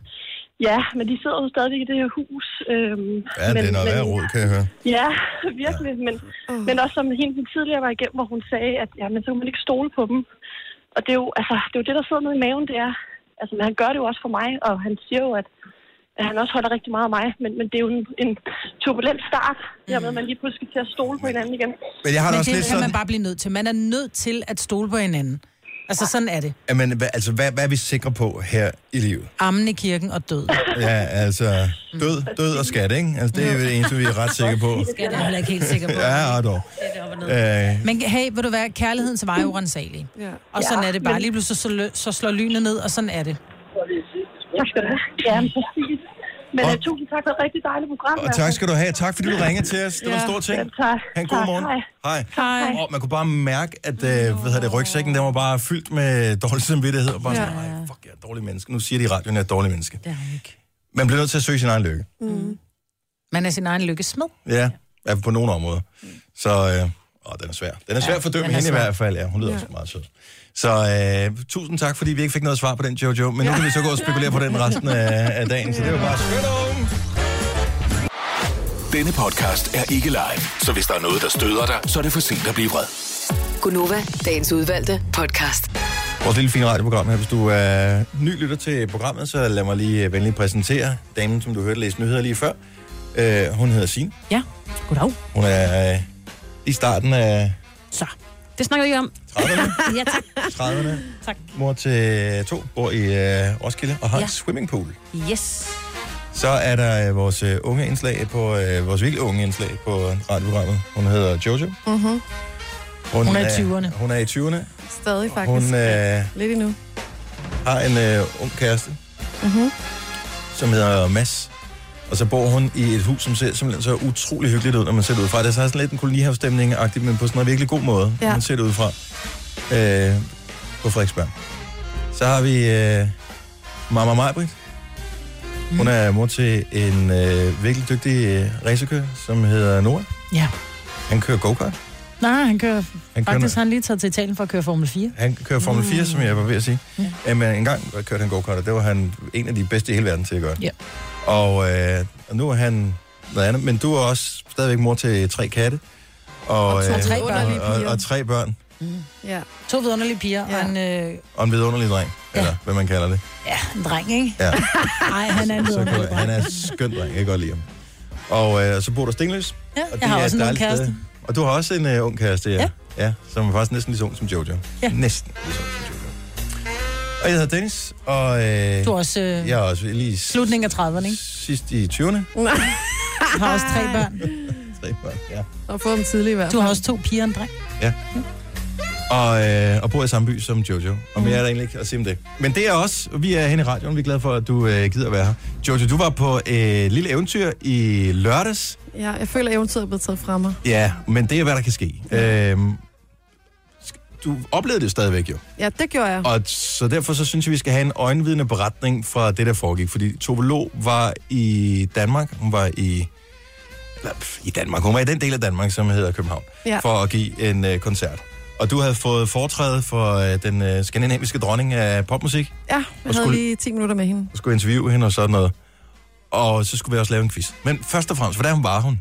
Ja, men de sidder jo stadig i det her hus. Øhm,
Ja, det er noget
men,
værd råd, kan jeg høre.
Ja, virkelig. Ja. Men, men også som hende den tidligere var igennem, hvor hun sagde, at jamen, så kan man ikke stole på dem. Og det er, jo, altså, det er jo det, der sidder nede i maven, det er. Altså, men han gør det jo også for mig, og han siger jo, at, at han også holder rigtig meget af mig. Men, men det er jo en, en turbulent start, mm. dermed at man lige pludselig skal til at stole på hinanden igen.
Men jeg har det
men
også
det
lidt
kan man
sådan...
bare blive nødt til. Man er nødt til at stole på hinanden. Altså, sådan er det.
Jamen, hvad, altså, hvad, hvad er vi sikre på her i livet?
Ammen i kirken og død.
Ja, altså, død, død og skat, ikke? Altså, det er det eneste, vi er ret sikre på.
Skat er jeg heller ikke helt sikker på.
Ja, og dog. Øh,
Men hey, vil du være, kærlighedens vej er urensagelig. Ja. Og sådan
Ja,
er det bare.
men-
Lige pludselig så, lø- så slår lynet ned, og sådan er det.
Tak skal du have. Ja, men præcis. Men uh, tusind tak for et rigtig dejligt program.
og tak skal du have. Tak, fordi du ringede til os. Det var en
Ja.
stor ting.
Ja, tak.
Ha' en god
Tak.
morgen.
Hej.
Øh, Hej.
Hej.
Og man kunne bare mærke, at øh, hvad hedder det, rygsækken den var bare fyldt med dårlig samvittighed. Og bare
Ja.
sådan, nej, fuck, jeg er et dårligt menneske. Nu siger de i radioen, at jeg er et dårligt menneske. Man bliver nødt til at søge sin egen lykke.
Mm. Man er sin egen lykkesmed.
Ja, i hvert fald på nogle områder. Så øh, åh, den er svær. Den er svær
Ja,
ja, for dømme
den er
hende i
svær.
hvert fald. Ja, hun lyder
Ja.
ja. også meget sød. Så øh, tusind tak, fordi vi ikke fik noget svar på den, Jojo. Men nu kan vi så gå og spekulere på den resten af, af dagen. Så det var bare skønt.
Denne podcast er ikke live, så hvis der er noget, der støder dig, så er det for sent at blive vred.
Gunova, dagens udvalgte podcast.
Vores lille fine radioprogram her. Hvis du er ny lytter til programmet, så lad mig lige øh, venligt præsentere damen, som du hørte læse nyheder lige før. Øh, hun hedder Signe.
Ja, goddag.
Hun er øh, i starten af
Så, det snakker vi ikke om.
30'erne.
ja, tak.
30'erne.
Tak.
Mor til to, bor i øh, Roskilde og har ja.
Ja.
en swimmingpool.
Yes.
Så er der øh, vores øh, unge indslag på, øh, vores virkelig unge indslag på radioprogrammet. Hun hedder Jojo.
Mm-hmm.
Hun,
Hun er i 20'erne.
Hun er i 20'erne.
Stadig faktisk.
Hun øh,
Lidt endnu.
har en øh, ung kæreste,
Mm-hmm.
som hedder Mads. Og så bor hun i et hus, som ser simpelthen så utrolig hyggeligt ud, når man ser det udefra. Det er så sådan lidt en kolonihavstemning-agtigt, men på sådan en virkelig god måde, ja.
Ja.
når man ser det udefra. Øh, på Frederiksberg. Så har vi øh, Mama Majbrit.
Mm.
Hun er mor til en øh, virkelig dygtig øh, racerkører, som hedder Nora.
Ja.
Han kører go-kart.
Nej, han kører...
Han
Han
kører-
faktisk har han lige taget til Italien for at køre Formel 4.
Han kører Formel 4, som jeg var ved at sige.
Mm. Ja.
Ja. Men engang kørte han go-kart, og det var han en af de bedste i hele verden til at gøre.
Ja.
Og, øh, og nu er han noget andet. Men du er også stadigvæk mor til tre katte. Og,
Og to- tre
og,
børn.
og, og tre børn.
Ja.
To vidunderlige piger ja. og en, øh,
Og en vidunderlig dreng, ja. eller hvad man kalder det.
ja, en dreng, ikke?
Ja.
Nej, han er en
Så
vidunderlig
kan,
dreng.
han er skøn dreng, jeg kan godt lide ham. Og øh, så bor der Stenløs.
Ja,
og
jeg har
det er
også en
et
ung
dejligt
kæreste.
sted. Og du har også en øh, ung kæreste, ja. ja. Ja, som er faktisk næsten lige så ung som Jojo. Ja. Næsten lige så ung som Jojo. Og jeg hedder Dennis, og... Øh,
Du er også, øh,
Jeg er også lige
Slutningen af 30'erne, ikke?
sidst i 20'erne.
Han har også tre børn.
Tre børn, ja.
Og fået dem tidligere i hvert
Du har også to piger og en dreng.
Og, øh, og bor i samme by som Jojo. Og mere er
Mm.
der egentlig ikke at sige om det. Men det er os. og Vi er hen i radioen. Vi er glade for, at du øh, gider være her. Jojo, du var på et øh, lille eventyr i lørdags.
Ja, jeg føler, at eventyret er blevet taget fra mig.
Ja, men det er, hvad der kan ske. Øhm, sk- du oplevede det stadigvæk jo.
Ja, det gjorde jeg.
Og t- så derfor så synes jeg, vi skal have en øjenvidende beretning fra det, der foregik. Fordi Tove Lo var i Danmark. Hun var i... Eller, pff, i Danmark. Hun var i den del af Danmark, som hedder København.
Ja.
For at give en øh, koncert. Og du havde fået foretræde for øh, den øh, skandinaviske dronning af popmusik.
Ja, jeg
Og
havde
skulle-
lige 10 minutter med hende.
Og skulle interviewe hende og sådan noget. Og så skulle vi også lave en quiz. Men først og fremmest, hvordan var hun?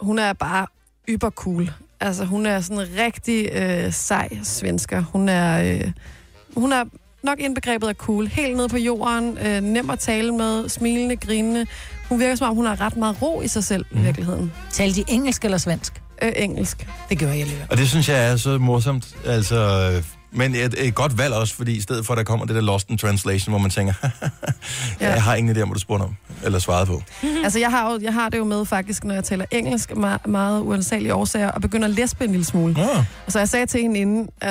Hun er bare ybercool. Altså, hun er sådan en rigtig øh, sej svensker. Hun er, øh, hun er nok indbegrebet af cool. Helt nede på jorden, øh, nem at tale med, smilende, grinende. Hun virker som om, hun har ret meget ro i sig selv, mm. i virkeligheden.
Talte Mhm. de engelsk eller svensk?
Øh, engelsk.
Det gjorde jeg alligevel.
Og det synes jeg er så morsomt. Altså, øh, men et, et godt valg også, fordi i stedet for, at der kommer det der lost in translation, hvor man tænker, ja. jeg har ingen idé om, hvad du spurgte om, eller svarede på.
Altså, jeg har, jo, jeg har det jo med faktisk, når jeg taler engelsk, meget, meget uansagelige årsager, og begynder at læspe en lille smule.
Ja.
Og så jeg sagde til hende inden, øh,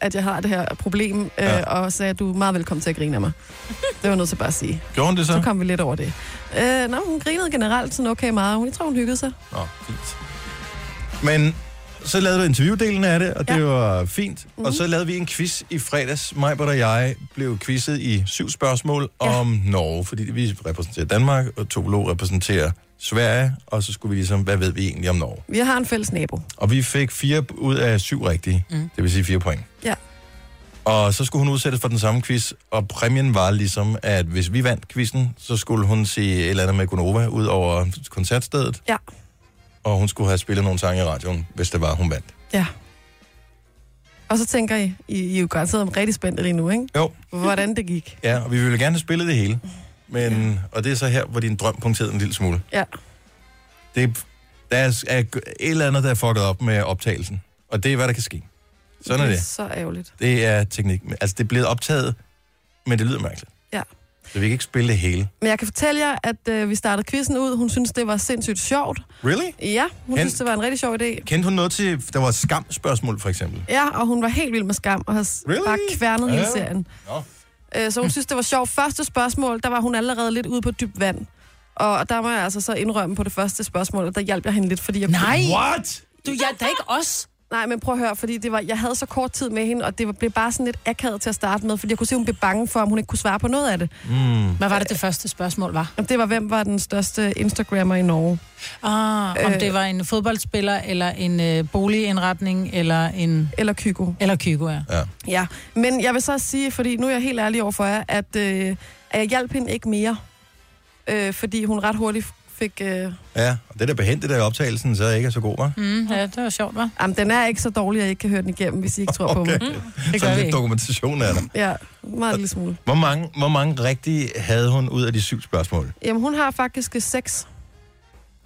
at jeg har det her problem, øh,
Ja.
ja. og sagde, at du er meget velkommen til at grine af mig. Det var jeg nødt til bare at sige.
Gjorde hun det så?
Så kom vi lidt over det. Øh, nej, hun grinede generelt sådan okay meget. Hun, jeg tror, hun hyggede sig.
Nå, fint. Men så lavede du interviewdelen af det, og det ja. var fint. Mm-hmm. Og så lavede vi en quiz i fredags. Majbert og jeg blev quizzet i syv spørgsmål ja. om Norge, fordi vi repræsenterer Danmark, og Tobolo repræsenterer Sverige, og så skulle vi ligesom, hvad ved vi egentlig om Norge?
Vi har en fælles nabo.
Og vi fik fire ud af syv rigtige, mm. det vil sige fire point.
Ja.
Og så skulle hun udsættes for den samme quiz, og præmien var ligesom, at hvis vi vandt quizzen, så skulle hun sige et eller andet med Gunova ud over koncertstedet.
Ja.
Og hun skulle have spillet nogle sange i radioen, hvis det var, hun vandt.
Ja. Og så tænker I, I, I er jo garanteret rigtig spændte lige nu, ikke?
Jo.
Hvordan det gik.
Ja, og vi ville gerne have spillet det hele. Men, og det er så her, hvor din drøm punkterede en lille smule.
Ja.
Det, er- der er, er et eller andet, der er fucket op med optagelsen. Og det er, hvad der kan ske. Sådan er det.
Så ærgerligt.
Det er teknik. Men, Altså, det er blevet optaget, men det lyder mærkeligt.
Ja.
Så vi kan ikke spille det hele.
Men jeg kan fortælle jer, at øh, vi startede quizzen ud. Hun synes, det var sindssygt sjovt.
Really?
Ja, hun
Hen-
synes, det var en rigtig sjov idé.
Kendte hun noget til... Der var et skamspørgsmål, for eksempel.
Ja, og hun var helt vild med skam og har s-
Really?
bare kværnet hele
Ja.
serien.
Nå.
Øh, Så hun synes, det var sjovt. Første spørgsmål, der var hun allerede lidt ude på dybt vand. Og der må jeg altså så indrømme på det første spørgsmål, og der hjalp jeg hende lidt, fordi jeg...
Nej!
What?
Du hjalp da ikke os.
Nej, men prøv at høre, fordi det var, jeg havde så kort tid med hende, og det var- blev bare sådan lidt akavet til at starte med, fordi jeg kunne se, hun blev bange for, om hun ikke kunne svare på noget af det.
Mm.
Hvad var det, det første spørgsmål var?
Jamen, Det var, hvem var den største Instagrammer i Norge?
Ah,
Øh,
om det var en fodboldspiller, eller en øh, boligindretning, eller en...
Eller Kygo.
Eller Kygo, ja.
Ja.
Ja, men jeg vil så sige, fordi nu er jeg helt ærlig over for jer, at, øh, at jeg hjalp hende ikke mere, øh, fordi hun ret hurtigt fik... Øh,
Ja, og det der behændte der i optagelsen, så ikke er så god, var.
Mm, ja, det var sjovt, hva'?
jamen, den er ikke så dårlig, at jeg ikke kan høre den igennem, hvis I ikke tror på
Okay. Mm.
mig.
Det gør
Sådan
vi
lidt
ikke.
dokumentation er der.
Ja, meget lille smule.
Hvor mange, hvor mange rigtige havde hun ud af de syv spørgsmål?
Jamen, hun har faktisk seks.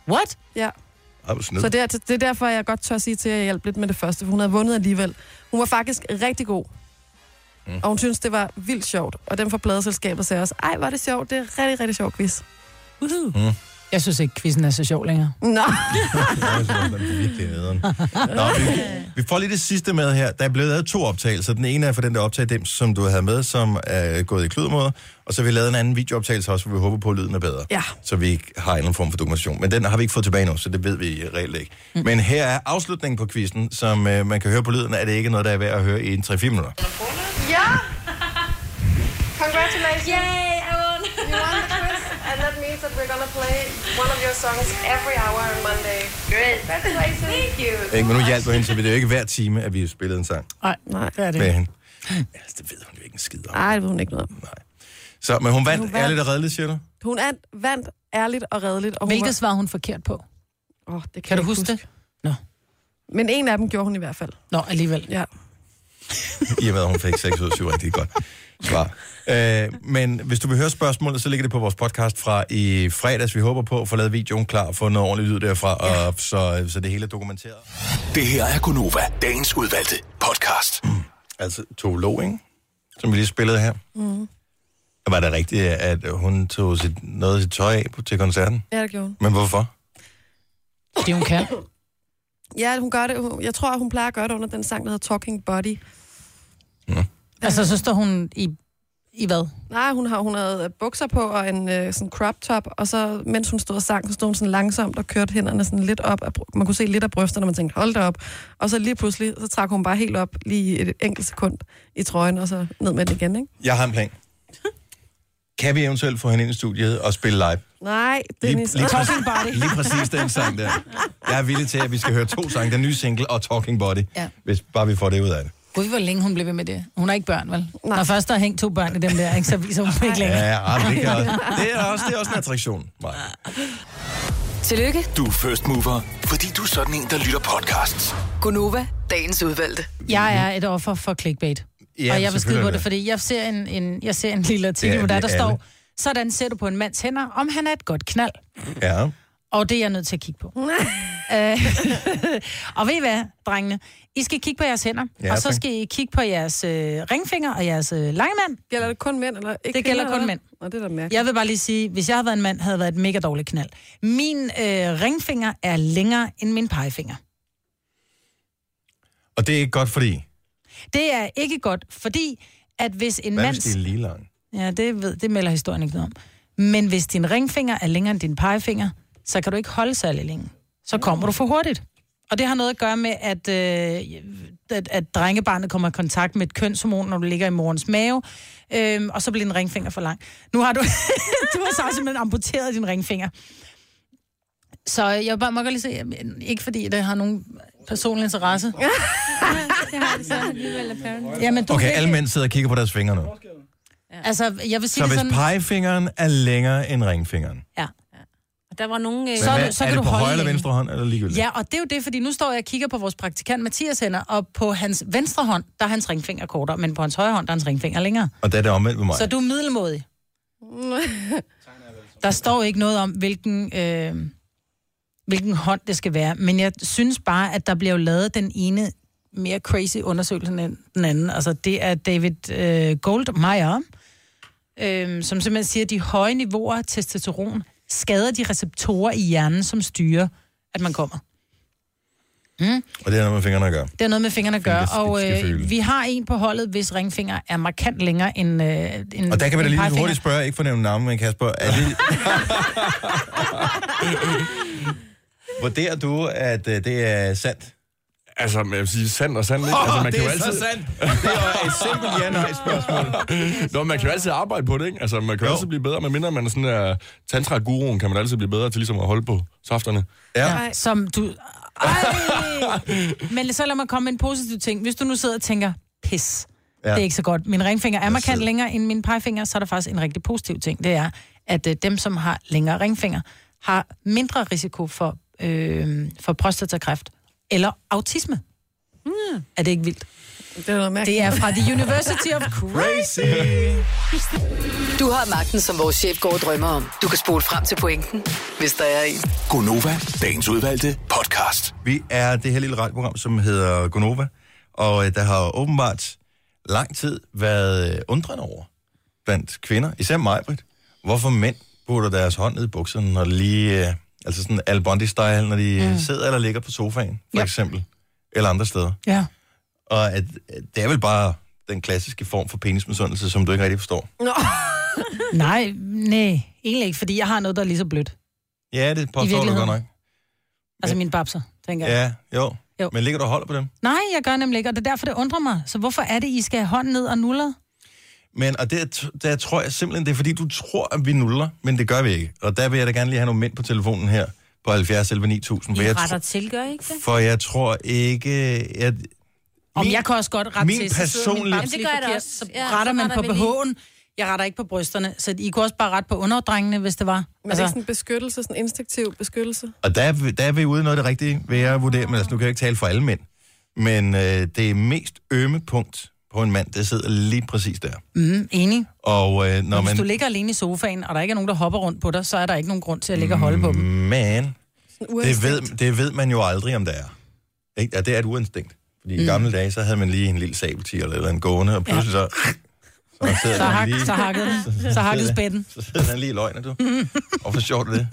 What?
Ja,
Ej, hvor snyd.
så det er, det er derfor, jeg godt tør sige til, at jeg hjalp lidt med det første, for hun havde vundet alligevel. Hun var faktisk rigtig god. Mm. Og hun synes, det var vildt sjovt. Og den fra pladeselskabet sagde også, ej, var det sjovt, det er rigtig, rigtig sjov quiz.
Uh-huh.
Mm.
Jeg synes ikke, quizzen er så sjov længere.
Nå,
Jeg synes, den er virkelig nederen. Nå, vi, vi får lige det sidste med her. Der er blevet lavet to optagelser. Den ene er for den der optagelse, dem, som du havde med, som er gået i kludmåder. Og så har vi lavet en anden videooptagelse også, hvor vi håber på, at lyden er bedre.
Ja.
Så vi ikke har en eller anden form for dokumentation. Men den har vi ikke fået tilbage nu, så det ved vi reelt ikke. Mm. Men her er afslutningen på quizzen, som øh, man kan høre på lyden, at det ikke er noget, der er værd at høre i en 3-4 minutter.
Ja! Congratulations! Yay, I won! you won the quiz, and that means that we're gonna play one of your songs every hour on Monday. Great! Congratulations! Thank you!
Ikke? Men nu hjalp du hende, så vi- det er jo ikke hver time, at vi spillede en sang
Nej, Nej. det er det.
med
ikke.
hende. Altså, det ved hun jo ikke en skid om.
ej, det ved hun ikke noget om.
Så, men hun vandt,
Hun vandt.
ærligt og redeligt, siger du?
Hun er, vandt ærligt og redeligt. Og hun
Hvilket svar hun forkert på?
Var, oh, det kan,
Kan du
jeg ikke
huske det? Nå.
Men en af dem gjorde hun i hvert fald.
Nå, alligevel.
Ja.
I og med, at hun fik 6 ud af 7 rigtig godt svar. Øh, men hvis du vil høre spørgsmålet, så ligger det på vores podcast fra i fredags. Vi håber på at få lavet videoen klar og få noget ordentligt lyd derfra, ja. og så, så det hele er dokumenteret.
Det her er Gunova, dagens udvalgte podcast.
Altså, tolog, ikke? Som vi lige spillede her. Mm.
Mm-hmm.
Var det rigtigt, at hun tog sit, noget af sit tøj af på, til koncerten?
Ja, det gjorde hun.
Men hvorfor?
Det hun kan.
Ja, hun gør det. Hun- Jeg tror, hun plejer at gøre det under den sang, der hedder Talking Body.
Mm.
Altså, så står hun i... I hvad?
Nej, hun, har, hun havde øh, bukser på og en øh, sådan crop top, og så mens hun stod og sang, så stod hun sådan langsomt og kørte hænderne sådan lidt op. Af, bry- man kunne se lidt af brysterne, og man tænkte, hold da op. Og så lige pludselig, så trak hun bare helt op lige et enkelt sekund i trøjen, og så ned med den igen, ikke?
Jeg har en plan. Kan vi eventuelt få hende ind i studiet og spille live?
Nej,
Lige,
Dennis.
lige, præcis, lige præcis den sang der. Jeg er villig til, at vi skal høre to sange. Den nye single og Talking Body.
Ja.
Hvis bare vi får det ud af det.
Gud, hvor længe hun blev ved med det. Hun har ikke børn, vel?
Nej.
Nej. Når først der er hængt to børn i dem der, ikke, så viser hun ikke længere.
Ja, ja, men det, kan også. det, er også, det er også en attraktion. Maja.
Tillykke,
Du er first mover, fordi du er sådan en, der lytter podcasts.
Gunova, dagens udvalgte.
Jeg er et offer for clickbait.
Ja,
Ja, og jeg vil skide
selvfølgelig
på
er
det,
det.
fordi jeg ser en, en, jeg ser en lille
Det
artikel,
er
hvor der,
vi
der
alle.
står, sådan ser du på en mands hænder, om han er et godt knald.
Ja.
Og det er jeg nødt til at kigge på. Øh, og ved I hvad, drengene? I skal kigge på jeres hænder,
Ja,
og så
tak.
skal I kigge på jeres øh, ringfinger og jeres øh, langemand.
Gælder det kun mænd, eller ikke
Det gælder
kvinder,
kun
eller?
mænd.
Nå, det er da mærkeligt.
Jeg vil bare lige sige, hvis jeg havde været en mand, havde jeg været et mega dårligt knald. Min øh, ringfinger er længere end min pegefinger.
Og det er ikke godt, fordi...
Det er ikke godt, fordi at hvis en
Hvad
mand...
hvis det er lige lang?
Ja, det, ved, det melder historien ikke noget om. Men hvis din ringfinger er længere end din pegefinger, så kan du ikke holde særlig længe. Så kommer du for hurtigt. Og det har noget at gøre med, at, øh, at, at drengebarnet kommer i kontakt med et kønshormon, når du ligger i morens mave, øhm, og så bliver din ringfinger for lang. Nu har du, du har så simpelthen amputeret din ringfinger. Så jeg vil bare må jeg godt lige se, ikke fordi det har nogen personlig interesse. Ja, men du
Okay,
kan-
alle mænd sidder og kigger på deres fingre nu.
Altså, jeg vil sige
Så
det
hvis
sådan...
pegefingeren er længere end ringfingeren,
ja.
Og der var nogen... Øh,
Så er
hvad-
du- så
er
kan
det
du
på
holde
højre eller
længe.
venstre hånd, eller ligegyldigt?
Ja, og det er jo det, fordi nu står jeg og kigger på vores praktikant Mathias hænder, og på hans venstre hånd, der er hans ringfinger kortere, men på hans højre hånd, der er hans ringfinger længere.
Og der er det omvendt ved mig.
Så du er middelmodig. Der står ikke noget om, hvilken, øh, hvilken hånd det skal være, men jeg synes bare, at der bliver jo lavet den ene mere crazy undersøgelse end den anden. Altså, det er David øh, Goldmeyer, øh, som simpelthen siger, at de høje niveauer af testosteron skader de receptorer i hjernen, som styrer, at man kommer. Mm.
Og det har noget med fingrene at gøre.
Det har noget med fingrene at gøre,
Fingers-
og
skal føle.
øh, vi har en på holdet, hvis ringfinger er markant længere end, øh, end
Og der kan vi da
end
lige
pegefinger.
hurtigt spørge, ikke for at nævne navn, men Kasper, er det... Vurderer du, at øh, det er sandt?
Altså, jeg vil sige sandt og sandt. ikke?
Åh,
altså, man
det
kan jo
er så
altid...
sandt. Det er et simpelt ja-nej-spørgsmål.
Nå, man kan jo altid arbejde på det, ikke? Altså, man kan jo altid blive bedre, medmindre man er sådan er uh, tantra-guruen, kan man altid blive bedre til ligesom at holde på softerne.
Ja. Som du... Ej. Men så lad mig komme med en positiv ting. Hvis du nu sidder og tænker, pis,
Ja.
ja. det er ikke så godt. Min ringfinger er markant længere end min pegefinger, så er der faktisk en rigtig positiv ting. Det er, at øh, dem, som har længere ringfinger, har mindre risiko for, øh, for prostatakræft eller autisme. Mm. Er det ikke vildt?
Det er, noget
det er fra The University of Crazy.
Du har magten, som vores chef går og drømmer om. Du kan spole frem til pointen, hvis der er en.
Gonova, dagens udvalgte podcast. Vi er det her lille radioprogram, som hedder Gonova, og øh, der har åbenbart lang tid været øh, undrende over blandt kvinder, især mig, Britt, hvorfor mænd putter deres hånd ned i bukserne, når de lige, øh, altså sådan Al Bondi-style, når de mm. sidder eller ligger på sofaen, for ja. eksempel, eller andre steder.
Ja.
Og at, at det er vel bare den klassiske form for penismisundelse, som du ikke rigtig forstår.
Nå.
nej, nej, egentlig ikke, fordi jeg har noget, der er lige så blødt.
Ja, det påstår du
virkeligheden.
godt nok.
Altså mine babser, tænker jeg.
Ja, jo.
Jo.
jo. Men ligger du og holder på dem?
Nej, jeg gør nemlig ikke, og det er derfor, det undrer mig. Så hvorfor er det, I skal have hånden ned og nuller?
Men, og det, der tror jeg simpelthen, det er fordi, du tror, at vi nuller, men det gør vi ikke. Og der vil jeg da gerne lige have nogle mænd på telefonen her, på 70 11 9000. For,
I
jeg,
retter
tr-
til, gør I ikke det?
for jeg tror ikke... Jeg,
Om jeg kan også godt rette
min
til, så sidder min
personlige-
babs
Jamen, det
lige
gør jeg da
forkert,
også.
Så
Ja,
ja,
så
retter man på
retter vi lige.
BH'en. Jeg retter ikke på brysterne, så I kunne også bare rette på underdrengene, hvis det var.
Men altså... det er ikke sådan en beskyttelse, sådan en instinktiv beskyttelse.
og der, er vi- der er vi ude i noget af det rigtige, vil jeg vurdere, men altså, nu kan jeg ikke tale for alle mænd. Men øh, det mest ømme punkt på en mand, det sidder lige præcis der.
Mm, enig.
Og øh,
Nå,
når
men... Hvis du
man...
ligger alene i sofaen, og der ikke er nogen, der hopper rundt på dig, så er der ikke nogen grund til at ligge og holde på dem.
Man, Mm, det ved, det ved man jo aldrig, om det er. Ikke? Ja, det er et uinstinkt. Fordi mm. i
Mm.
gamle dage, så havde man lige en lille sabelti eller, et eller en gående, og pludselig så... Så, sidder
Så,
den
hak,
lige-
så hakkede den. Så hakkede spætten.
Så sidder han lige i løgnet, du. Og for sjovt er det.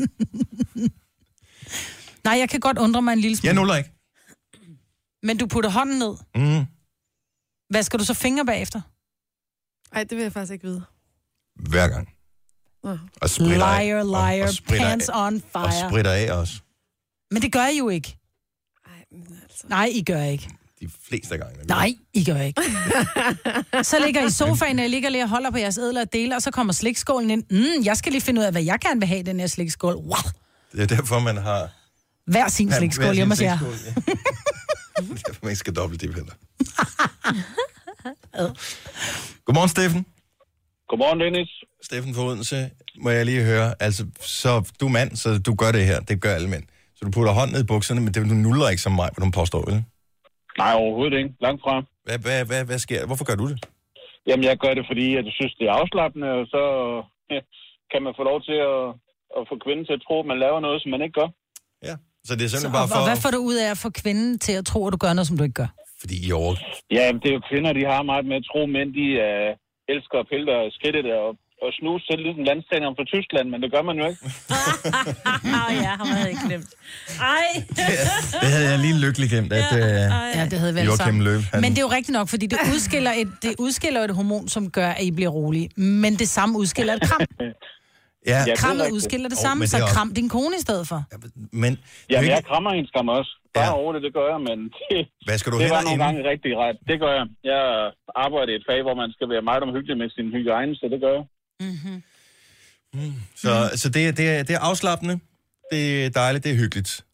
Nej, jeg kan godt undre mig en lille smule.
Jeg nuller ikke.
Men du putter hånden ned.
Mm.
Hvad skal du så fingre bagefter?
Nej, det vil jeg faktisk ikke vide.
Hver gang.
Nå.
Og spritter af.
Liar, liar,
og spritter af.
pants on
Og
fire.
spritter af også.
Men det gør I jo ikke. Nej, I gør ikke.
De fleste af gangene.
Nej, I gør ikke. så ligger I i sofaen, og I ligger lige og holder på jeres ædler og dele, og så kommer slikskålen ind. Mm, jeg skal lige finde ud af, hvad jeg gerne vil have i den her slikskål. Wow.
Det er derfor, man har...
Hver sin
Ja, hver
slikskål
sin
hjemme hos jer.
slikskål, ja. Det er derfor, man ikke skal dobbelt dip heller. Godmorgen, Steffen.
Godmorgen, Dennis.
Steffen fra Odense, må jeg lige høre. Altså, så du er mand, så du gør det her. Det gør alle mænd. Så du putter hånden ned i bukserne, men det, du nuller ikke som mig, hvor du påstår, vel?
Nej, overhovedet ikke. Langt fra.
Hvad, hvad, hvad, hvad sker der? Hvorfor gør du det?
Jamen, jeg gør det, fordi jeg synes, det er afslappende, og så ja, kan man få lov til at, at få kvinden til at tro, at man laver noget, som man ikke gør.
Ja, så det er
Så,
simpelthen
og,
bare for...
og hvad får du ud af at få kvinden til at tro, at du gør noget, som du ikke gør?
Fordi I over...
Ja, men det er jo kvinder, de har meget med at tro, mænd de uh, elsker at pille dig i skridtet og, og snuse til ligesom landstænderen fra Tyskland, men det gør man jo ikke.
Åh, ja, ham havde jeg ikke glemt. Ej.
Det havde jeg lige lykkelig glemt, at øh, ja,
Ja, det havde været
Joachim
sammen.
Løv... Han...
Men det er jo rigtigt nok, fordi det udskiller, et, det udskiller et hormon, som gør, at I bliver rolige. Men det samme udskiller et kram.
Ja,
Krammet udskiller det
Åh,
samme,
men
så
det er også-
kram din kone i stedet for.
Men,
Jamen, jeg krammer hendes skam også. Bare ja. over det, det gør jeg, men det,
Hvad skal du
det
hen
var
og
nogle
ende?
gange rigtig ret. Det gør jeg. Jeg arbejder i et fag, hvor man skal være meget omhyggelig med sin hygiejne, så det gør jeg.
Så, så det, er- det, er, det er afslappende, det er dejligt, det er hyggeligt.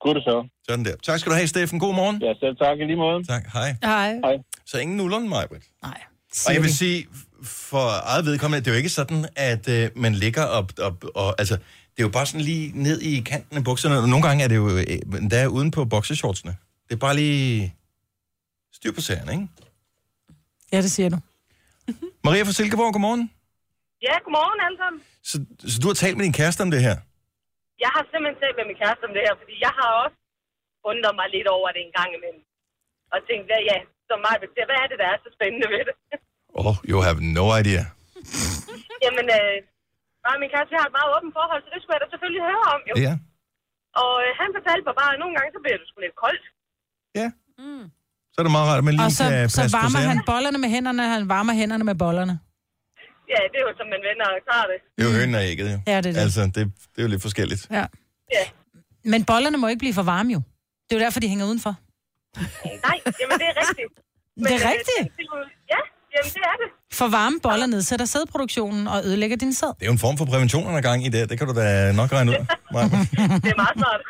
Godt så.
Sådan der. Tak skal du have, Steffen. God morgen.
Ja, selv tak i lige måde.
Tak. Hej.
Hej.
Hej.
Så ingen nulleren, Majbrit.
Nej.
Og jeg vil sige, for eget vedkommende, det er jo ikke sådan, at øh, man ligger op, op, og altså, det er jo bare sådan lige ned i kanten af bukserne, og nogle gange er det jo øh, endda uden på boxershortsene. Det er bare lige styr på serien, ikke?
Ja, det siger du.
Maria fra Silkeborg, godmorgen.
Ja, godmorgen alle sammen.
Så, så du har talt med din kæreste om det her?
Jeg har simpelthen talt med min kæreste om det her, fordi jeg har også undret mig lidt over det en gang imellem. og tænkte, hvad, ja, som mig vil hvad er det, der er så spændende ved det?
Oh, you have no idea.
Jamen, øh, mig og min kæreste, vi har et meget åbent forhold, så det skulle jeg da selvfølgelig høre om, jo.
Ja.
Og øh, han fortalte mig bare, at nogle gange, så bliver det sgu lidt koldt.
Ja. Så er det meget rart, at man lige
Og så,
kan
så
passe på
varmer
sagerne.
han bollerne med hænderne, og han varmer hænderne med bollerne.
Ja, det er jo som man vender og klarer det.
Det er jo hønen og ægget, jo.
Ja, det er det.
Altså, det, det er jo lidt forskelligt.
Ja. Men bollerne må ikke blive for varme jo. Det er jo derfor, de hænger udenfor.
Nej, jamen det er rigtigt.
Det er rigtigt.
Øh, det er jo- ja, jamen det er det.
For varme boller
Ah.
nedsætter sædproduktionen og ødelægger din sæd.
Det er jo en form for prævention, han er gang i det. Det kan du da nok regne ud. Maja.
Det er meget smart.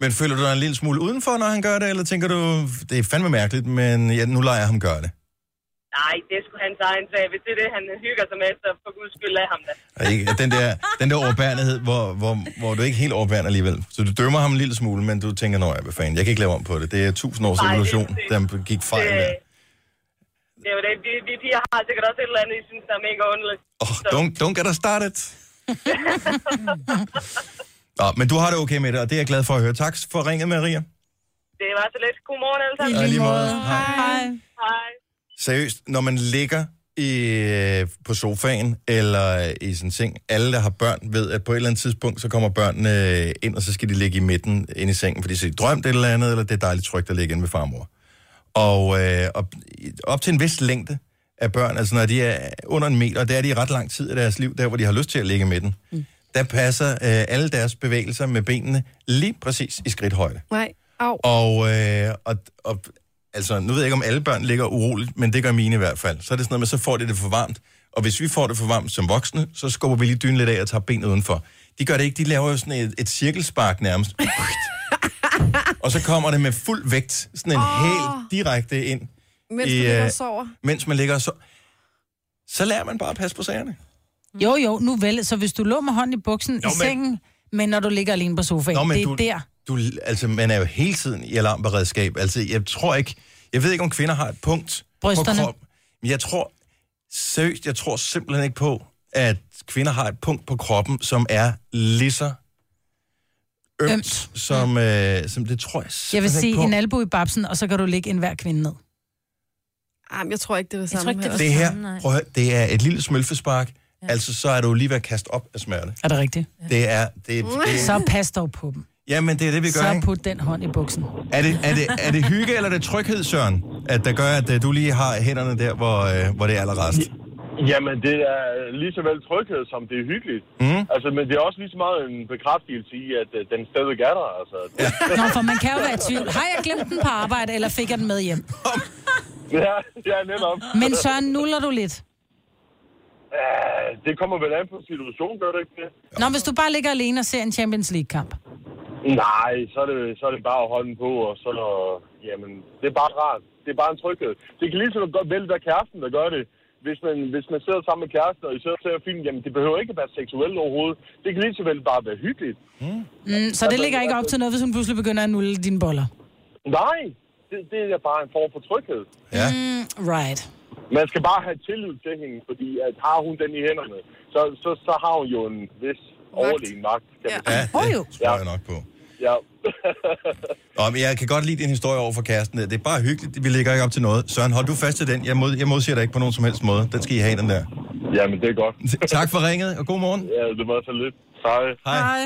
men føler du dig en lille smule udenfor, når han gør det, eller tænker du, det er fandme mærkeligt, men ja, nu lader jeg ham gøre det?
Nej, det skulle hans egen sag. Hvis det er det, han hygger sig med, så for guds skyld lad ham da.
Og ikke, den, der, den der overbærenhed, hvor, hvor, hvor du ikke er helt overbærende alligevel. Så du dømmer ham en lille smule, men du tænker, nej, hvad fanden, jeg kan ikke lave om på det. Det er tusind års
Nej, det er
evolution,
præcis. Øh,
der gik fejl
Det,
der.
det er jo det. Vi, vi piger har sikkert også et eller andet, I synes, der er mega underligt.
Oh, don't, don't get us started. Nå, men du har det okay med det, og det er jeg glad for at høre. Tak for ringet, Maria.
Det var så lidt. Godmorgen alle sammen.
I lige måde.
Hej. Hej. Hej.
Seriøst, når man ligger i, øh, på sofaen eller i sin seng, alle der har børn ved, at på et eller andet tidspunkt, så kommer børnene øh, ind, og så skal de ligge i midten inde i sengen, fordi så de drømte et eller andet, eller det er dejligt trygt at ligge inde med farmor. Og øh, op, op til en vis længde af børn, altså når de er under en meter, og det er de i ret lang tid af deres liv, der hvor de har lyst til at ligge i midten, mm. der passer øh, alle deres bevægelser med benene lige præcis i skridthøjde.
Nej, au.
Og, øh, og, og altså, nu ved jeg ikke, om alle børn ligger uroligt, men det gør mine i hvert fald. Så er det sådan noget med, så får de det for varmt. Og hvis vi får det for varmt som voksne, så skubber vi lige dynen lidt af og tager benet udenfor. De gør det ikke, de laver jo sådan et, et cirkelspark nærmest. og så kommer det med fuld vægt, sådan en oh.
Åh.
helt direkte ind.
Mens
i,
man ligger og
øh,
sover.
Mens man ligger og sover. Så lærer man bare at passe på sagerne.
Jo, jo, nu vel. Så hvis du lå med hånden i buksen
men-
i sengen, men når du ligger alene på sofaen,
Nå, men
det er
du-
der.
du, altså, man er jo hele tiden i alarmberedskab. Altså, jeg tror ikke... Jeg ved ikke, om kvinder har et punkt
Brysterne.
på kroppen. Men jeg tror... Seriøst, jeg tror simpelthen ikke på, at kvinder har et punkt på kroppen, som er lige så ømt, ømt. Som, øh, som det tror jeg
Jeg vil
simpelthen
sige
ikke på.
en albu i babsen, og så kan du ligge enhver kvinde ned.
Jamen, jeg tror ikke, det er det samme.
tror ikke, det er
det her, prøv at høre, det er et lille smølfespark. Ja. Altså, så er du lige ved at kaste op af smerte.
Er det rigtigt?
Det er... Det,
Mm.
det,
Så pas dog på dem.
jamen, det er det, vi gør,
så
ikke?
put den hånd i buksen.
Er det, er, det, er det hygge eller er det tryghed, Søren, at der gør, at øh, du lige har hænderne der, hvor, øh, hvor det er allerrest?
Jamen, det er lige så vel tryghed, som det er hyggeligt.
Mhm.
Mm.
Altså, men det er også lige så meget en bekræftelse i, at øh, den stadig er der. Altså, det,
Nå, for man kan jo være i tvivl. Har jeg glemt den på arbejde, eller fik jeg den med hjem?
ja, ja, netop.
Men Søren, nuller du lidt?
Ja, det kommer vel an på situationen, gør det ikke det?
Nå, hvis du bare ligger alene og ser en Champions League-kamp.
Nej, så er det, så er det bare at holde den på, og så... Jamen, det er bare rart. Det er bare en tryghed. Det kan lige så godt vælge være kæresten, der gør det. Hvis man, hvis man sidder sammen med kæresten, og I sidder og ser film, jamen det behøver ikke at være seksuelt overhovedet. Det kan lige så vel bare være hyggeligt.
Hmm.
Mm.
Mm, så det ligger ikke op til noget, hvis hun pludselig begynder at nulle dine boller.
Nej, det, det er bare en form for tryghed.
Ja.
Hmm.
Mm, right.
Man skal bare have tillid til hende, fordi at har hun den i hænderne, så, så, så har hun jo en vis overlegen magt. Kan ja. Man sige.
Ja, det tror jeg nok på.
Ja.
Nå, men jeg kan godt lide din historie over for kæresten. der. Det er bare hyggeligt. Vi ligger ikke op til noget. Søren, hold du fast til den. Jeg, mod, jeg modsiger dig ikke på nogen som helst måde. Den skal I have, den der.
Jamen, det er godt.
tak for ringet, og god morgen.
Ja, det var så lidt. Hej.
Hej.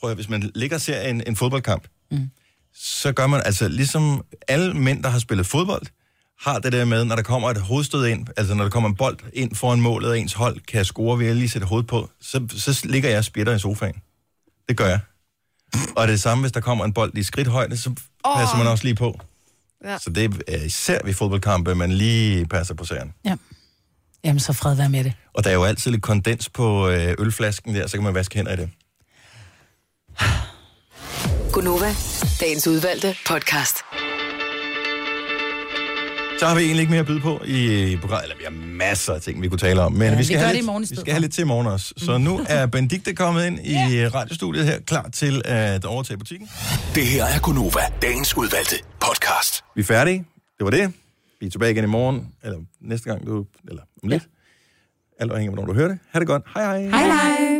Prøv at, høre, hvis man ligger og ser en, en fodboldkamp, mm. så gør man altså, ligesom alle mænd, der har spillet fodbold, har det der med, når der kommer et hovedstød ind, altså når der kommer en bold ind foran målet, og ens hold kan score ved at lige sætte hovedet på, så, så ligger jeg og spjætter i sofaen. Det gør jeg. Og det er samme, hvis der kommer en bold i skridthøjde, så passer man også lige på.
Ja.
Så det er især ved fodboldkampe, man lige passer på serien.
Jamen, så fred være med det.
Og der er jo altid lidt kondens på øh, ølflasken der, så kan man vaske hænder i det.
Gunova, dagens udvalgte podcast.
Så har vi egentlig ikke mere at byde på i programmet. Eller vi har masser af ting, vi kunne tale om. Men
Ja,
ja, vi,
vi
skal
gør
have
det i
lidt,
morgen i
vi
stedet
skal have
for.
lidt til i morgen også. Så nu er Benedikte kommet ind i radiostudiet her, klar til at overtage butikken.
Det her er Gunova, dagens udvalgte podcast.
Vi er færdige. Det var det. Vi er tilbage igen i morgen, eller næste gang du, eller om lidt. Alt afhængig af, hvornår du hører det. Ha' det godt. Hej hej.
Hej, hej.